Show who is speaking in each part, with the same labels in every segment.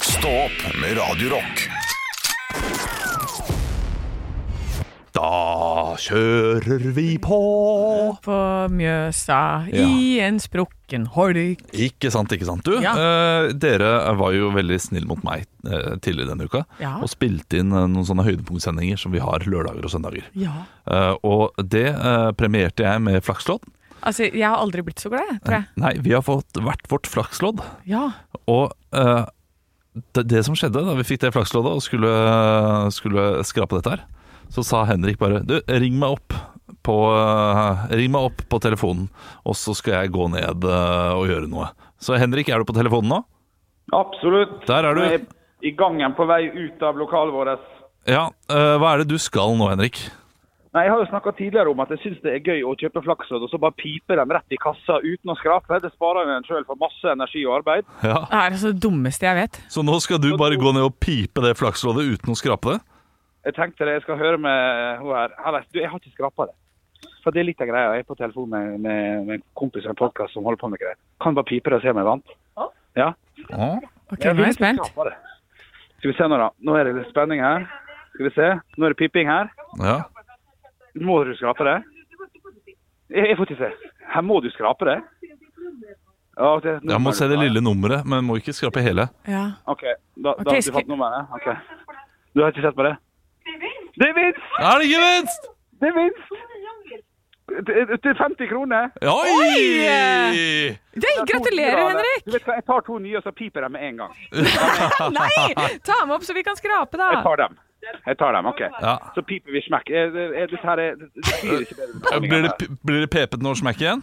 Speaker 1: Stå opp med Radio Rock.
Speaker 2: Da kjører vi på.
Speaker 3: På Mjøsa,
Speaker 2: Ja.
Speaker 3: i en sprukken holk.
Speaker 2: Ikke sant, ikke sant. Du, eh, dere var jo veldig snille mot meg eh, tidligere denne uka.
Speaker 3: Ja.
Speaker 2: Og spilte inn eh, noen sånne høydepunktsendinger som vi har lørdager og søndager.
Speaker 3: Ja.
Speaker 2: Eh, og det eh, premierte jeg med flakslodd.
Speaker 3: Altså, jeg har aldri blitt så glad, jeg, tror jeg.
Speaker 2: Nei, vi har fått hvert vårt flakslodd.
Speaker 3: Ja.
Speaker 2: Og eh, det, det som skjedde da vi fikk det flaksloddet og skulle, skulle skrape dette her, så sa Henrik bare Du, ring meg opp på, eh, ring meg opp på telefonen, og så skal jeg gå ned eh, og gjøre noe. Så Henrik, er du på telefonen nå?
Speaker 4: Absolutt.
Speaker 2: Der er du.
Speaker 4: Jeg er i gangen på vei ut av lokalet vårt.
Speaker 2: Ja. eh, hva er det du skal nå, Henrik?
Speaker 4: Nei, Jeg har jo snakka tidligere om at jeg syns det er gøy å kjøpe flakslodd, og så bare pipe dem rett i kassa uten å skrape. Det sparer en sjøl for masse energi og arbeid.
Speaker 2: Ja.
Speaker 3: Det er altså det dummeste jeg vet.
Speaker 2: Så nå skal du bare gå ned og pipe det flaksloddet uten å skrape det?
Speaker 4: Jeg tenkte det, jeg skal høre med hun her. Henrik, du, jeg har ikke skrapa det. For det er litt av greia. Jeg er på telefon med, med, med en kompis av en podkast som holder på med greier. Kan bare pipe det og se om jeg vant. Ja.
Speaker 2: Ja.
Speaker 3: Ok, nå er jeg spent.
Speaker 4: skrape det. Skal vi se nå, da. Nå er det litt spenning her. Skal vi se. Nå er det piping her.
Speaker 2: ja.
Speaker 4: Må du skrape det? Jeg, jeg får ikke se. Her må du skrape det? Ja, det
Speaker 2: Jeg må se det lille nummeret, men må ikke skrape hele.
Speaker 3: Ja.
Speaker 4: OK, da, da
Speaker 3: Ok,
Speaker 4: du
Speaker 3: skri-
Speaker 4: fant nummeret? Ok. Du har ikke sett på det? Det er vinst!
Speaker 2: Er det gevinst?
Speaker 4: Det er vinst! Det- det- Det er 50 kroner.
Speaker 2: Oi!
Speaker 3: Det, gratulerer, Henrik!
Speaker 4: Du vet hva, Jeg tar to nye, og så piper jeg med en gang.
Speaker 3: Nei! Ta med opp så vi kan skrape,
Speaker 4: Jeg
Speaker 3: da.
Speaker 4: tar dem. Jeg tar dem, OK.
Speaker 2: Ja.
Speaker 4: Så piper vi smekk. Eh, det- eh, Dette her er det- det blir ikke bedre enn
Speaker 2: Blir det,
Speaker 4: ordningen her.
Speaker 2: p- blir det pepet når smekk igjen?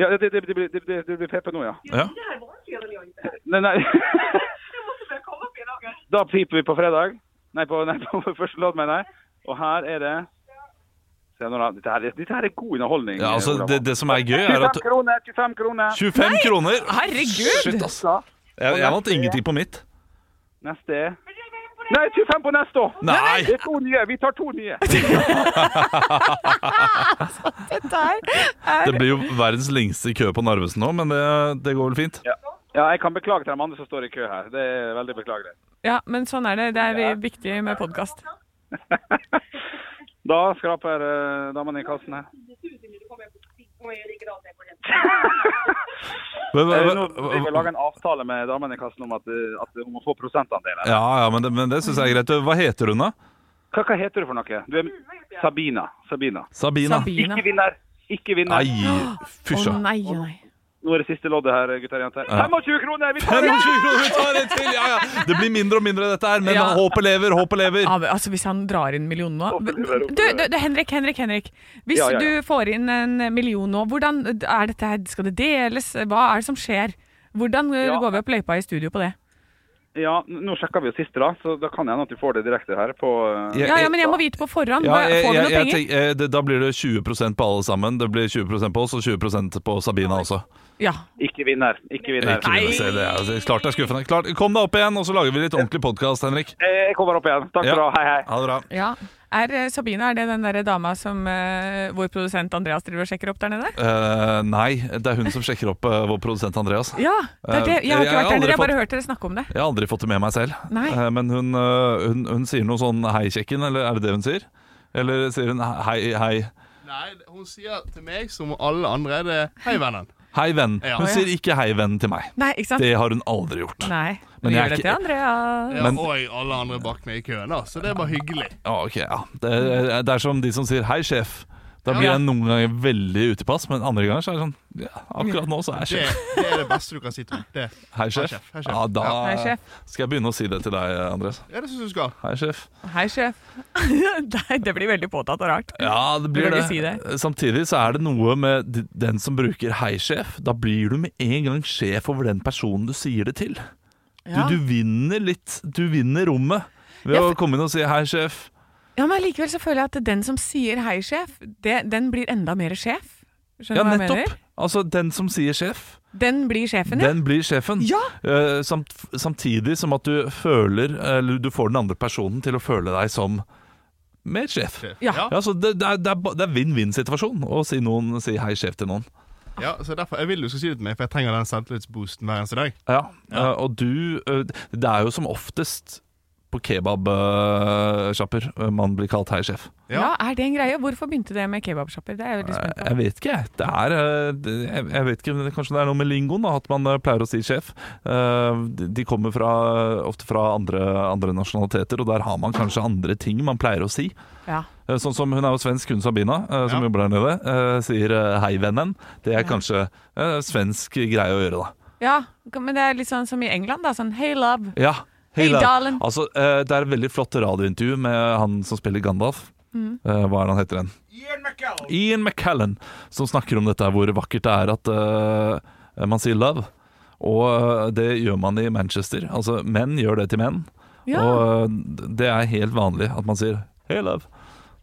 Speaker 4: Ja, det, det, det, blir- det, det, det blir PP nå, ja.
Speaker 2: Ja.
Speaker 4: Nei, nei. Da piper vi på fredag. Nei, på, nei, på første låt, mener jeg. Og her er det Se nå, da. Dette her, er- dette her er god underholdning.
Speaker 2: ja altså,
Speaker 4: Olav.
Speaker 2: det, det som er gøy, er at
Speaker 4: 25 kroner! 25 kroner!
Speaker 2: 25 kroner Shit,
Speaker 3: Herregud!
Speaker 2: ass. Jeg, jeg vant ingenting på mitt.
Speaker 4: Neste er Nei, 25 på neste år!
Speaker 2: Nei!
Speaker 4: Det er to nye. Vi tar to nye.
Speaker 3: Dette her er
Speaker 2: Det blir jo verdens lengste kø på Narvesen nå, men det, det går vel fint.
Speaker 4: Ja. ja, jeg kan beklage til de andre som står i kø her. Det er veldig beklagelig.
Speaker 3: Ja, men sånn er det. Det er viktig med podkast.
Speaker 4: Da skraper eh, damene i kassen her.
Speaker 2: Men,
Speaker 4: Eh,
Speaker 2: men,
Speaker 4: Nå vil vi lage en avtale med damene i kassen om at, eh, at hun må få prosentandeler.
Speaker 2: ja, ja, men det, men det syns jeg er greit. Hva heter hun, da?
Speaker 4: Hva, hva heter du for noe? Du er Sabina. Sabina.
Speaker 2: Sabina.
Speaker 3: Sabina.
Speaker 4: Ikke vinner! Ikke vinner!
Speaker 2: Nei,
Speaker 3: Å
Speaker 2: fysja.
Speaker 3: nei, nei.
Speaker 4: Nå er det siste loddet her, gutter og jenter.
Speaker 2: Ja.
Speaker 4: 25 kroner! Vi tar
Speaker 2: 25
Speaker 4: det!
Speaker 2: kroner, vi tar en til! Ja, ja. Det blir mindre og mindre, dette her, men
Speaker 3: Ja.
Speaker 2: håpet lever, håpet lever.
Speaker 3: Ja, men altså Hvis han drar inn millionen nå
Speaker 4: Opp,
Speaker 3: du,
Speaker 4: opp, opp.
Speaker 3: du, du, Henrik, Henrik, Henrik. Hvis
Speaker 4: Ja, ja, ja.
Speaker 3: du får inn en million nå, hvordan er dette her? Skal det deles? Hva er det som skjer? Hvordan eh,
Speaker 4: Ja.
Speaker 3: går vi opp løypa i studio på det?
Speaker 4: Ja, n- nå sjekka vi jo siste, da, så da kan det hende at du får det direkte her på eh,
Speaker 2: Jeg-
Speaker 3: Ja, ja, men jeg må vite på forhånd.
Speaker 2: Ja,
Speaker 3: Hva-
Speaker 2: jeg,
Speaker 3: Får vi
Speaker 2: jeg,
Speaker 3: noe
Speaker 2: jeg
Speaker 3: penger?
Speaker 2: tenk, eh, det, da blir det 20 på alle sammen. Det blir 20 på oss og 20 på Sabina også.
Speaker 3: Ja.
Speaker 4: Ikke vinner. Ikke vinner.
Speaker 2: Jeg kunne se det, altså. Klart det er skuffende. Klart. Kom deg opp igjen, og så lager vi litt ordentlig podkast, Henrik.
Speaker 4: Eh, Jeg kommer opp igjen. Takk
Speaker 2: Ja.
Speaker 4: skal du ha. Hei, hei.
Speaker 2: Ha det bra.
Speaker 3: ja. Er eh, Sabine er det den der dama som eh, vår produsent Andreas driver og sjekker opp der nede?
Speaker 2: Eh, nei, det er hun som sjekker opp eh, vår produsent Andreas.
Speaker 3: Ja, det er det. Jeg har
Speaker 2: Eh, jeg har
Speaker 3: ikke vært der
Speaker 2: aldri
Speaker 3: nede, jeg har
Speaker 2: fått-
Speaker 3: bare hørt dere snakke om det.
Speaker 2: Jeg har aldri fått det med meg selv.
Speaker 3: Nei.
Speaker 2: Eh, men hun, eh, hun, hun sier noe sånn 'hei, kjekken', eller er det det hun sier? Eller sier hun 'hei, hei'?
Speaker 5: Nei, hun sier til meg som alle andre det Hei, vennen.
Speaker 2: Hei, venn.
Speaker 5: Ja.
Speaker 2: Hun
Speaker 5: Å, ja.
Speaker 2: sier ikke 'hei, venn' til meg.
Speaker 3: Nei, ikke sant?
Speaker 2: Det har hun aldri gjort.
Speaker 3: Nei.
Speaker 2: Men
Speaker 3: Men
Speaker 2: jeg
Speaker 3: gjør
Speaker 2: er
Speaker 3: det
Speaker 2: ikke-
Speaker 3: til Andrea.
Speaker 5: Ja,
Speaker 2: Men-
Speaker 5: og alle andre bak meg i køen, da. Så det er bare hyggelig.
Speaker 2: Ja, ok, ja. Det, er, det er som de som sier 'hei, sjef'. Da blir
Speaker 5: Ja.
Speaker 2: jeg noen ganger veldig utepass, men andre ganger så er det sånn ja, Akkurat nå så er jeg
Speaker 5: Det,
Speaker 2: sjef.
Speaker 5: det er det beste du kan si til meg. Det.
Speaker 2: Hei, sjef.
Speaker 5: Hei, sjef. Hei, sjef.
Speaker 2: Ja, da
Speaker 3: Hei, sjef.
Speaker 2: skal jeg begynne å si det til deg, Andres.
Speaker 5: Ja, det syns du skal.
Speaker 2: Hei, sjef.
Speaker 3: Hei, sjef. Nei, det blir veldig påtatt og rart.
Speaker 2: Ja, det blir
Speaker 3: Du kan
Speaker 2: det.
Speaker 3: ikke si det.
Speaker 2: Samtidig så er det noe med d- den som bruker 'hei, sjef'. Da blir du med en gang sjef over den personen du sier det til.
Speaker 3: Ja.
Speaker 2: Du, du vinner litt. Du vinner rommet ved
Speaker 3: Ja,
Speaker 2: å komme inn og si 'hei, sjef'.
Speaker 3: Ja, men likevel så føler jeg at den som sier hei, sjef, det, den blir enda mer sjef.
Speaker 2: Ja,
Speaker 3: Skjønner du hva jeg
Speaker 2: nettopp.
Speaker 3: mener?
Speaker 2: Altså, den som sier sjef,
Speaker 3: Den blir sjefen, ja.
Speaker 2: den blir sjefen.
Speaker 3: Ja.
Speaker 2: Eh, samt, samtidig som at du føler Eller du får den andre personen til å føle deg som mer sjef.
Speaker 3: Ja.
Speaker 2: Ja, så det, det er- det er ba- det er vinn-vinn-situasjon å si, noen, si 'hei, sjef' til noen.
Speaker 5: Ja, så derfor, Jeg vil du skal si det til meg, for jeg trenger den selvtillitsboosten hver eneste dag.
Speaker 2: Ja, eh, og du eh, Det er jo som oftest på kebabsjapper eh, man blir kalt 'hei, sjef'.
Speaker 5: Ja.
Speaker 3: Ja. Er det en greie? Hvorfor begynte det med kebabsjapper? Det er jeg veldig
Speaker 2: Eh,
Speaker 3: spent på.
Speaker 2: Jeg vet ikke, jeg. Det er eh, det- Jeg jeg vet ikke, men det- Kanskje det er noe med lingoen, da, at man eh, pleier å si 'sjef'. Eh, de- De kommer fra, ofte fra andre, andre nasjonaliteter, og der har man kanskje andre ting man pleier å si.
Speaker 3: Ja.
Speaker 2: Eh, Sånn som Hun er jo svensk, hun Sabina, eh, som
Speaker 5: Ja.
Speaker 2: jobber der nede. eh, Sier eh, 'hei, vennen'. Det er kanskje eh, svensk greie å gjøre, da.
Speaker 3: ja, men det er litt sånn som i England, da. Sånn hey love.
Speaker 2: Ja,
Speaker 3: Hey,
Speaker 2: Hela.
Speaker 3: darling.
Speaker 2: Altså, eh, det er et veldig flott radiointervju med han som spiller Gandalf. Eh, Hva er det han heter igjen? Ian McCallan. Som snakker om dette her, hvor vakkert det er at eh, man sier 'love'. Og eh, det gjør man i Manchester. Altså, menn gjør det til menn.
Speaker 3: Ja,
Speaker 2: Og eh, det er helt vanlig at man sier 'hey, love'.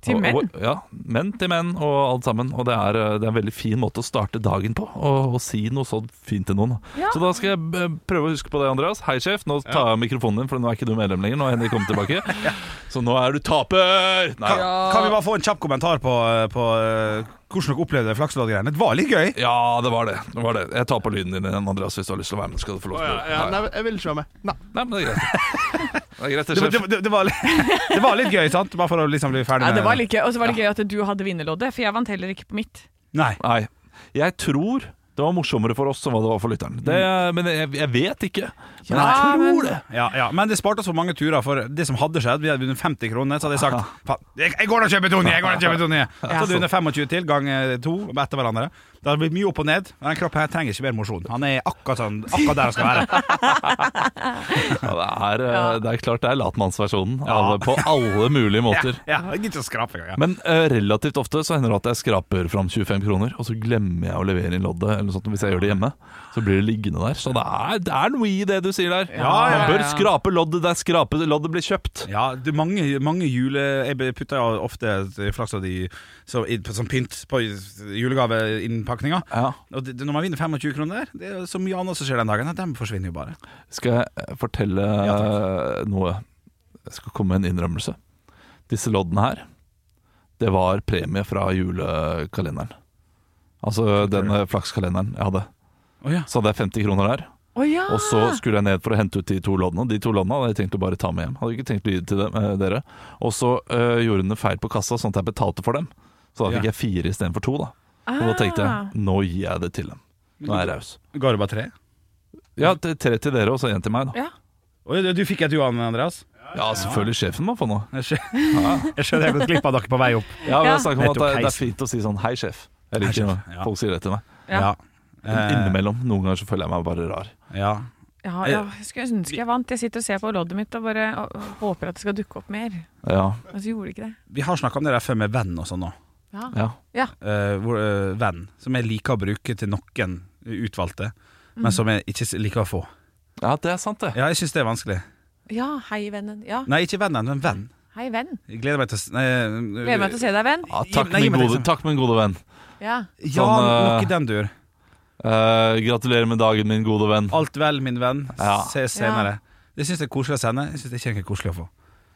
Speaker 3: Til
Speaker 2: Og-
Speaker 3: menn?
Speaker 2: Og, ja. Menn til menn og alt sammen. Og det er, eh, det er en veldig fin måte å starte dagen på. Å å si noe så fint til noen.
Speaker 3: Ja.
Speaker 2: Så da skal jeg eh, prøve å huske på det, Andreas. Hei, sjef. Nå tar jeg av mikrofonen din, for nå er ikke du medlem lenger. Nå har Henrik kommet tilbake. Så nå er du taper! Nei. Ja.
Speaker 4: Kan vi bare få en kjapp kommentar på, på eh, hvordan dere opplevde Flakslodd-greiene? Det var litt gøy.
Speaker 2: det var det. det var det. Jeg tar på lyden din igjen, Andreas. Hvis du har lyst til å være med, skal du få lov til
Speaker 5: Å, ja,
Speaker 2: det.
Speaker 5: ja,
Speaker 2: Nei,
Speaker 5: nei, jeg vil ikke være med. Nei.
Speaker 2: nei, men det er greit. Det er greit, det,
Speaker 4: Det,
Speaker 2: sjef.
Speaker 4: det, det, det, var, litt- det var litt gøy, sant? Bare for å liksom bli ferdig
Speaker 3: ja
Speaker 4: med
Speaker 3: det var litt gøy. Og så var det gøy at du hadde vinnerloddet, for jeg vant heller ikke på mitt.
Speaker 4: Nei.
Speaker 2: Nei. Jeg tror det var morsommere for oss enn hva det var for lytteren. Det, men jeg, jeg vet ikke. Men jeg
Speaker 3: Ja,
Speaker 2: tror
Speaker 3: men-
Speaker 2: det.
Speaker 4: Ja, ja, men det sparte oss for mange turer. For det som hadde skjedd, vi hadde vunnet 50 kroner, så hadde jeg sagt Faen, jeg, jeg går og kjøper to nye! Jeg går og kjøper to nye. Så hadde vi vunnet 25 til, gang eh, to etter hverandre. Det hadde blitt mye opp og ned. Den kroppen her trenger ikke mer mosjon. Han er akkurat, sånn, akkurat der han skal være.
Speaker 2: Ja, det, er, eh,
Speaker 3: Ja.
Speaker 2: det er klart det er latmannsversjonen.
Speaker 4: Ja.
Speaker 2: Alle- På alle mulige måter.
Speaker 4: Ja, ja, jeg gidder ikke å skrape engang. ja.
Speaker 2: Men eh, relativt ofte så hender det at jeg skraper fram 25 kroner, og så glemmer jeg å levere inn loddet. Eller noe sånt, hvis jeg gjør det hjemme, så blir det liggende der. Så det er, det er noe i det du sier der.
Speaker 4: Ja, ja,
Speaker 2: Man bør
Speaker 3: ja.
Speaker 2: skrape loddet der skrape, loddet blir kjøpt.
Speaker 4: Ja, det er mange, mange jule... Jeg putter jo ofte flakslodd i, så, i, som pynt på julegaveinnpakninga.
Speaker 2: Ja.
Speaker 4: Og det, når man vinner 25 kroner der, det er jo så mye annet som skjer den dagen, at de forsvinner jo bare.
Speaker 2: Skal jeg eh, fortelle eh, noe? Jeg skal komme med en innrømmelse. Disse loddene her, det var premie fra julekalenderen. Altså den eh, flakskalenderen jeg hadde.
Speaker 4: Å ja.
Speaker 2: Så hadde jeg 50 kroner der.
Speaker 3: Å ja!
Speaker 2: Og så skulle jeg ned for å hente ut de to loddene. De to loddene hadde jeg tenkt å bare ta med hjem. Hadde ikke tenkt å gi det til dem, eh, dere. Og så eh, gjorde hun en feil på kassa, sånn at jeg betalte for dem. Så da fikk
Speaker 4: Ja.
Speaker 2: jeg fire istedenfor to, da. Og da tenkte
Speaker 3: Ah.
Speaker 2: jeg nå gir jeg det til dem. Nå er jeg raus.
Speaker 4: Ga du bare tre?
Speaker 2: Ja, t- tre til dere og så én til meg, da.
Speaker 3: Ja.
Speaker 4: Oi, du- du fikk et Johan, Andreas?
Speaker 2: Ja, selvfølgelig. Sjefen må få noe.
Speaker 4: Jeg skjø- jeg skjønner jeg har gått glipp av dere på vei opp.
Speaker 2: Ja, vi
Speaker 3: Ja.
Speaker 2: har snakket om at
Speaker 4: Nettopp,
Speaker 2: det, er- det er
Speaker 4: heisen.
Speaker 2: fint å si sånn Hei, sjef. Jeg
Speaker 4: Hei,
Speaker 2: liker
Speaker 4: sjef.
Speaker 2: når
Speaker 4: Ja.
Speaker 2: folk sier det til meg.
Speaker 3: Ja.
Speaker 2: Men
Speaker 4: Eh,
Speaker 2: innimellom. Noen ganger så føler jeg meg bare rar.
Speaker 4: ja.
Speaker 3: Ja, ja,
Speaker 2: Eh,
Speaker 3: jeg skulle ønske jeg vant. Jeg sitter og ser på loddet mitt og bare og- og håper at det skal dukke opp mer.
Speaker 2: Ja.
Speaker 3: Og så gjorde det ikke det.
Speaker 4: Vi har snakka om det der før med venn og sånn nå.
Speaker 3: Ja.
Speaker 2: ja.
Speaker 4: Eh, hvor, eh, venn, som jeg liker å bruke til noen utvalgte,
Speaker 3: Mhm.
Speaker 4: men som jeg ikke s- liker å få.
Speaker 2: ja, det er sant, det.
Speaker 4: Ja, jeg syns det er vanskelig.
Speaker 3: ja, hei, vennen. Ja,
Speaker 4: Nei, ikke vennen, men venn.
Speaker 3: hei, venn.
Speaker 4: Jeg gleder meg til å s- nei, eh,
Speaker 3: Gleder meg til å se deg, venn.
Speaker 2: Ja, takk,
Speaker 4: Nei, gi
Speaker 2: min
Speaker 4: meg det,
Speaker 2: gode,
Speaker 4: liksom.
Speaker 2: takk, min gode venn.
Speaker 3: Ja.
Speaker 4: Ja,
Speaker 2: Sånn,
Speaker 4: noe
Speaker 2: eh,
Speaker 4: i den dur.
Speaker 2: Eh, gratulerer med dagen, min gode venn.
Speaker 4: Alt vel, min venn.
Speaker 2: Ja.
Speaker 4: Ses senere. Det syns jeg er koselig å sende. Jeg syns det er ikke noe koselig å få.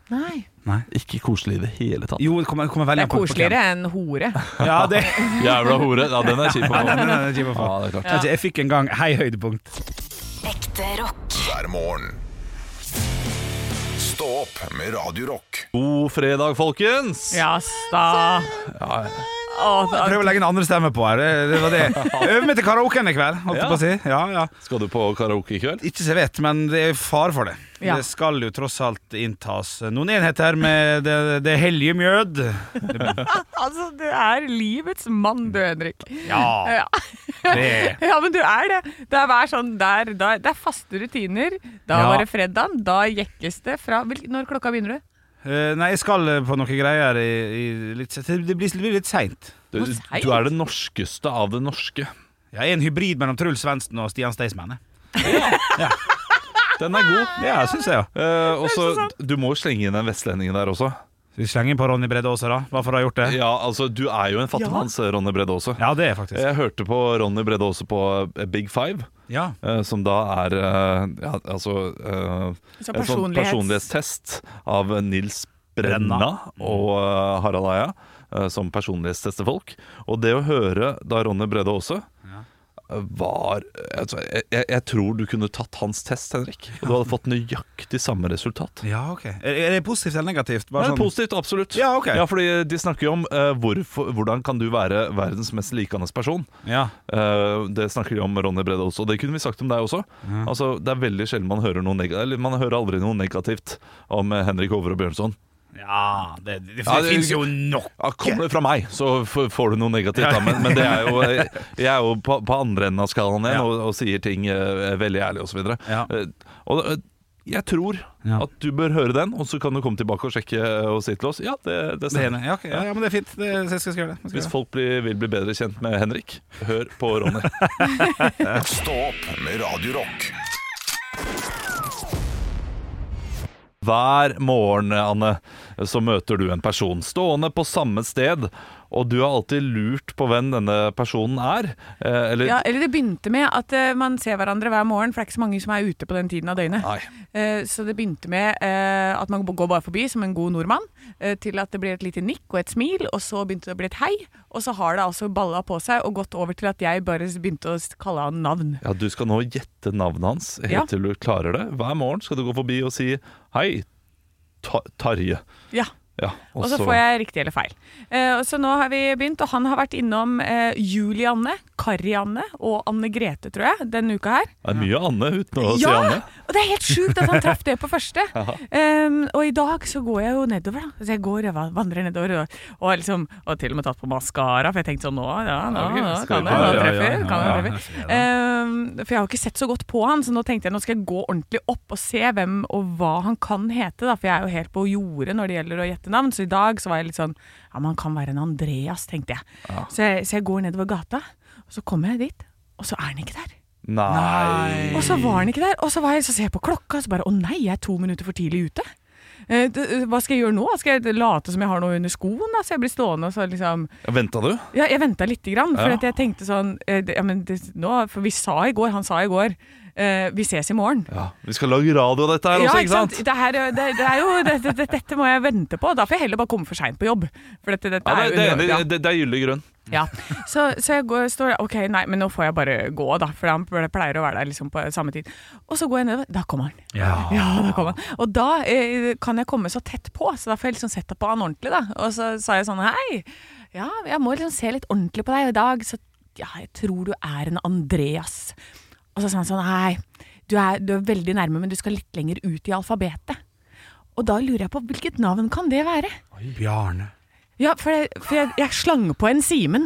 Speaker 3: Nei.
Speaker 2: Ikke koselig i det hele tatt.
Speaker 4: Jo, det kommer, kommer veldig
Speaker 3: Det er
Speaker 4: an på- på hvem.
Speaker 3: koseligere enn hore.
Speaker 4: Ja, det,
Speaker 2: Jævla hore. Ja, den er kjip å få.
Speaker 4: den er
Speaker 2: Ja,
Speaker 4: kjip å få.
Speaker 2: det er klart.
Speaker 3: Ja.
Speaker 4: Jeg fikk en gang hei høydepunkt.
Speaker 6: Ekte rock.
Speaker 7: hver morgen. Stå opp med Radio Rock.
Speaker 2: God fredag, folkens!
Speaker 3: Ja, sta. Å, da-
Speaker 4: Prøv å legge en andre stemme på her. Det, det var det. Øv meg til karaoken i kveld, holdt jeg
Speaker 2: Ja.
Speaker 4: på å si. Ja, ja.
Speaker 2: Skal du på karaoke i kveld?
Speaker 4: Ikke så jeg vet, men det er fare for det.
Speaker 3: Ja.
Speaker 4: Det skal jo tross alt inntas noen enheter med det, det hellige mjød.
Speaker 3: altså, du er livets mann, du, Henrik.
Speaker 4: Ja,
Speaker 3: Ja.
Speaker 4: det
Speaker 3: ja, men du er det. Det er, hver sånn, det er, da- det er faste rutiner. Da
Speaker 4: Ja.
Speaker 3: var det fredag, da jekkes det fra hvil- Når klokka begynner du?
Speaker 4: Eh, Nei, jeg skal på noen greier i, i litt, Det blir, det blir litt seint.
Speaker 2: Du,
Speaker 3: Hvor seint?
Speaker 2: du er det norskeste av det norske.
Speaker 4: Jeg er en hybrid mellom Truls Svendsen og Stian Staysman. jeg.
Speaker 2: Den er god.
Speaker 4: Ja, syns jeg. ja.
Speaker 2: Eh, og så, Du må jo slenge inn en vestlending der også.
Speaker 4: Skal vi slenge inn på Ronny Brede Aase, da? Hva for å ha gjort det?
Speaker 2: Ja, altså, Du er jo en fattigmanns Ronny Bredde også.
Speaker 4: Ja, det er faktisk.
Speaker 2: Jeg hørte på Ronny Bredde også på eh, Big Five,
Speaker 4: Ja.
Speaker 2: eh, som da er eh, ja, altså eh,
Speaker 3: Så
Speaker 2: En sånn personlighetstest av Nils Brenna,
Speaker 4: Brenna.
Speaker 2: og eh, Harald Eia. eh, som personlighetstester folk. Og det å høre da Ronny Brede Aase eh, var altså, jeg, jeg, jeg tror du kunne tatt hans test, Henrik. Og du hadde fått nøyaktig samme resultat.
Speaker 4: Ja, ok Er er det positivt eller negativt?
Speaker 2: Det
Speaker 4: Bare
Speaker 2: er
Speaker 4: sånn-
Speaker 2: positivt, absolutt.
Speaker 4: Ja, ok.
Speaker 2: fordi De snakker jo om eh, hvorfor, hvordan kan du være verdens mest likende person.
Speaker 4: Ja.
Speaker 2: Eh, det snakker de om Ronny Brede også, og det kunne vi sagt om deg også. Altså, det er veldig sjelden man hører noe negativt Eller man hører aldri noe negativt om eh, Henrik Over og Bjørnson.
Speaker 4: ja det, det, det,
Speaker 2: Ja, det-
Speaker 4: finnes jo nok.
Speaker 2: Ja, kommer det fra meg, så f- får du noe negativt, da. Men, men det er jo, jeg jeg er jo på, på andre enden av skalaen igjen
Speaker 4: Ja.
Speaker 2: og, og sier ting eh, veldig ærlig osv. Og, så videre.
Speaker 4: Ja.
Speaker 2: Eh, og eh, jeg tror
Speaker 4: Ja.
Speaker 2: at du bør høre den, og så kan du komme tilbake og sjekke eh, og si til oss. Ja, det, det
Speaker 4: Det
Speaker 2: stemmer.
Speaker 4: ene. Ja, ok. ja, ja, men det er fint. Det, jeg skal skrive det. Jeg skal
Speaker 2: Hvis
Speaker 4: gjøre det.
Speaker 2: folk blir, vil bli bedre kjent med Henrik, hør på Ronny.
Speaker 7: Stå opp med Radio Rock.
Speaker 2: Hver morgen, Anne, så møter du en person stående på samme sted, og du har alltid lurt på hvem denne personen er. Eh, eller
Speaker 3: Ja, eller det begynte med at eh, man ser hverandre hver morgen, for det er ikke så mange som er ute på den tiden av døgnet.
Speaker 2: Nei.
Speaker 3: Eh, så det begynte med eh, at man går bare forbi som en god nordmann, eh, til at det blir et lite nikk og et smil, og så begynte det å bli et hei, og så har det altså balla på seg og gått over til at jeg bare begynte å kalle han navn.
Speaker 2: Ja, Du skal nå gjette navnet hans helt
Speaker 3: Ja.
Speaker 2: til du klarer det. Hver morgen skal du gå forbi og si 'hei, ta Tarje'.
Speaker 3: Ja.
Speaker 2: Ja,
Speaker 3: Og så får jeg riktig eller feil. Eh, og så nå har vi begynt, og han har vært innom eh, Julianne, Karianne og Anne Grete, tror jeg, denne uka her.
Speaker 2: Det er mye Anne uten å si
Speaker 3: ja!
Speaker 2: Anne.
Speaker 3: Og det er helt sjukt at han traff det på første. Ehm, og i dag så går jeg jo nedover, da. Så jeg går og vandrer nedover. Og, og, liksom, og til og med tatt på maskara, for jeg tenkte sånn nå, ja, nå,
Speaker 4: ok,
Speaker 3: nå
Speaker 4: skal
Speaker 3: kan
Speaker 4: vi-
Speaker 3: jeg, nå
Speaker 4: ja, ja,
Speaker 3: treffer,
Speaker 4: ja, ja,
Speaker 3: kan
Speaker 4: ja,
Speaker 3: jeg
Speaker 4: jeg
Speaker 3: treffe.
Speaker 4: ser det.
Speaker 3: Ehm, for jeg har jo ikke sett så godt på han, så nå tenkte jeg nå skal jeg gå ordentlig opp og se hvem og hva han kan hete, da. For jeg er jo helt på jordet når det gjelder å gjette navn, så i dag så var jeg litt sånn ja, men han kan være en Andreas, tenkte jeg. Så jeg, så jeg går nedover gata, og så kommer jeg dit, og så er han ikke der.
Speaker 2: Nei.
Speaker 3: Og så var han ikke der. Og så var jeg så ser jeg på klokka, og så bare Å nei, jeg er to minutter for tidlig ute. Eh, d- Hva skal jeg gjøre nå? Skal jeg late som jeg har noe under skoen? Da? Så jeg blir stående og så liksom
Speaker 2: Venta du?
Speaker 3: Ja, jeg venta lite grann, for
Speaker 2: Ja.
Speaker 3: at jeg tenkte sånn eh, det- ja, men det, nå, For vi sa i går, han sa i går eh, Vi ses i morgen.
Speaker 2: Ja, Vi skal lage radio av dette her også, ikke sant?
Speaker 3: Det her, eh, det, det er jo, det, det, det- dette må jeg vente på. Da får jeg heller bare komme for seint på jobb. For dette, dette
Speaker 2: Ja, det,
Speaker 3: er jo
Speaker 2: det, er
Speaker 3: under- ja.
Speaker 2: enig, det, det er gyldig grunn.
Speaker 3: Ja, så, så jeg går, står der, Ok, nei, men nå får jeg bare gå da For han pleier å være der liksom på samme tid Og så går jeg nedover, da kommer han
Speaker 4: Ja.
Speaker 3: da kommer han Og da eh, kan jeg komme så tett på Så da får jeg liksom sette på han ordentlig da Og så sa jeg sånn, hei Ja, jeg må liksom se litt ordentlig på deg i dag Så ja, jeg tror du er en Andreas Og så sa han sånn, hei du er, du er veldig nærme, men du skal litt lenger ut i alfabetet Og da lurer jeg på, hvilket navn kan det være?
Speaker 4: Bjarne.
Speaker 3: Ja, for, jeg, for jeg, jeg slang på en Simen.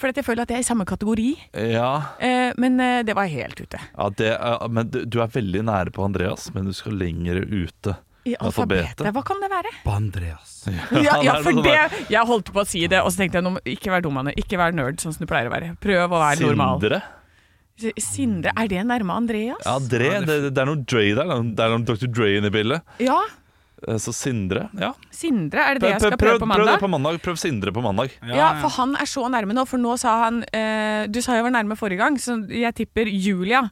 Speaker 3: For at jeg føler at jeg er i samme kategori.
Speaker 2: Ja,
Speaker 3: Eh, men eh, det var helt ute.
Speaker 2: ja det er, men du- du er veldig nære på Andreas, men du skal lenger ute.
Speaker 3: I
Speaker 2: Alfabetet.
Speaker 3: alfabetet. Hva kan det være?
Speaker 4: Bandreas.
Speaker 3: Ja, ja,
Speaker 2: det er sånn
Speaker 3: for
Speaker 2: noe
Speaker 3: det Jeg holdt på å si det, og så tenkte jeg nå må- ikke vær dum, Anne. Ikke vær nerd sånn som du pleier å være. Prøv å være normal.
Speaker 2: Sindre?
Speaker 3: S- Sindre. Er det nærme Andreas?
Speaker 2: Ja, Dre. Det, det er noe Dre der. Det er noe Dr. Dre inne i bildet.
Speaker 3: Ja,
Speaker 2: Eh, Så Sindre, ja.
Speaker 3: Sindre. Er det det jeg
Speaker 2: Prøv,
Speaker 3: skal
Speaker 2: prøv,
Speaker 3: prøve på
Speaker 2: prøv det
Speaker 3: mandag?
Speaker 2: på mandag. Prøv Sindre på mandag.
Speaker 3: Ja, for han er så nærme nå, for nå sa han eh, Du sa jeg var nærme forrige gang, så jeg tipper Julia.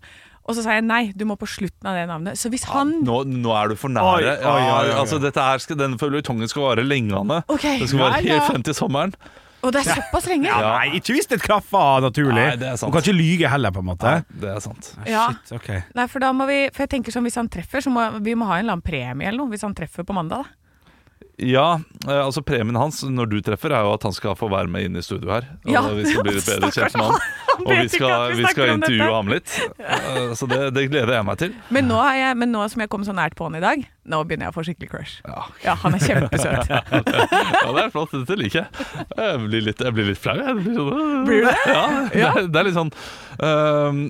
Speaker 3: Og så sa jeg nei, du må på slutten av det navnet. Så hvis han
Speaker 2: Nå, nå er du for nære.
Speaker 4: Oi, oi,
Speaker 2: Ja, ja,
Speaker 4: oi, oi.
Speaker 2: Altså, dette her skal, denne føljetongen skal vare lenge, Anne.
Speaker 3: Ok.
Speaker 2: Det skal vare
Speaker 3: Nei,
Speaker 2: helt
Speaker 3: ja.
Speaker 2: frem til sommeren.
Speaker 3: Og det er såpass lenge?
Speaker 4: Ja, nei, ikke hvis det klaffer naturlig.
Speaker 2: Nei, det er sant.
Speaker 4: Du kan ikke lyge heller, på en måte.
Speaker 2: Det er sant.
Speaker 3: Ja.
Speaker 4: Shit, ok ja,
Speaker 3: Nei, for da må vi For jeg tenker sånn, hvis han treffer, så må vi må ha en eller annen premie eller noe. Hvis han treffer på mandag, da.
Speaker 2: Ja, eh, altså Premien hans når du treffer, er jo at han skal få være med inn i studio her. Og
Speaker 3: Ja,
Speaker 2: vi skal bli litt bedre
Speaker 3: stakkars
Speaker 2: kjent med han.
Speaker 3: han
Speaker 2: Og
Speaker 3: vet
Speaker 2: vi
Speaker 3: ikke
Speaker 2: skal,
Speaker 3: at vi
Speaker 2: vi skal
Speaker 3: snakker om
Speaker 2: intervjue
Speaker 3: dette.
Speaker 2: ham litt. Eh, Så det, det gleder jeg meg til.
Speaker 3: Men nå, er jeg, men nå som jeg kom så nært på han i dag, nå begynner jeg å få skikkelig crush. Ja, han er kjempesøt.
Speaker 2: Ja, det er flott. Dette liker jeg. Jeg blir litt, jeg blir litt flau. jeg. Blir sånn-
Speaker 3: Blir du det?
Speaker 2: Ja, det, er, det er litt sånn øhm,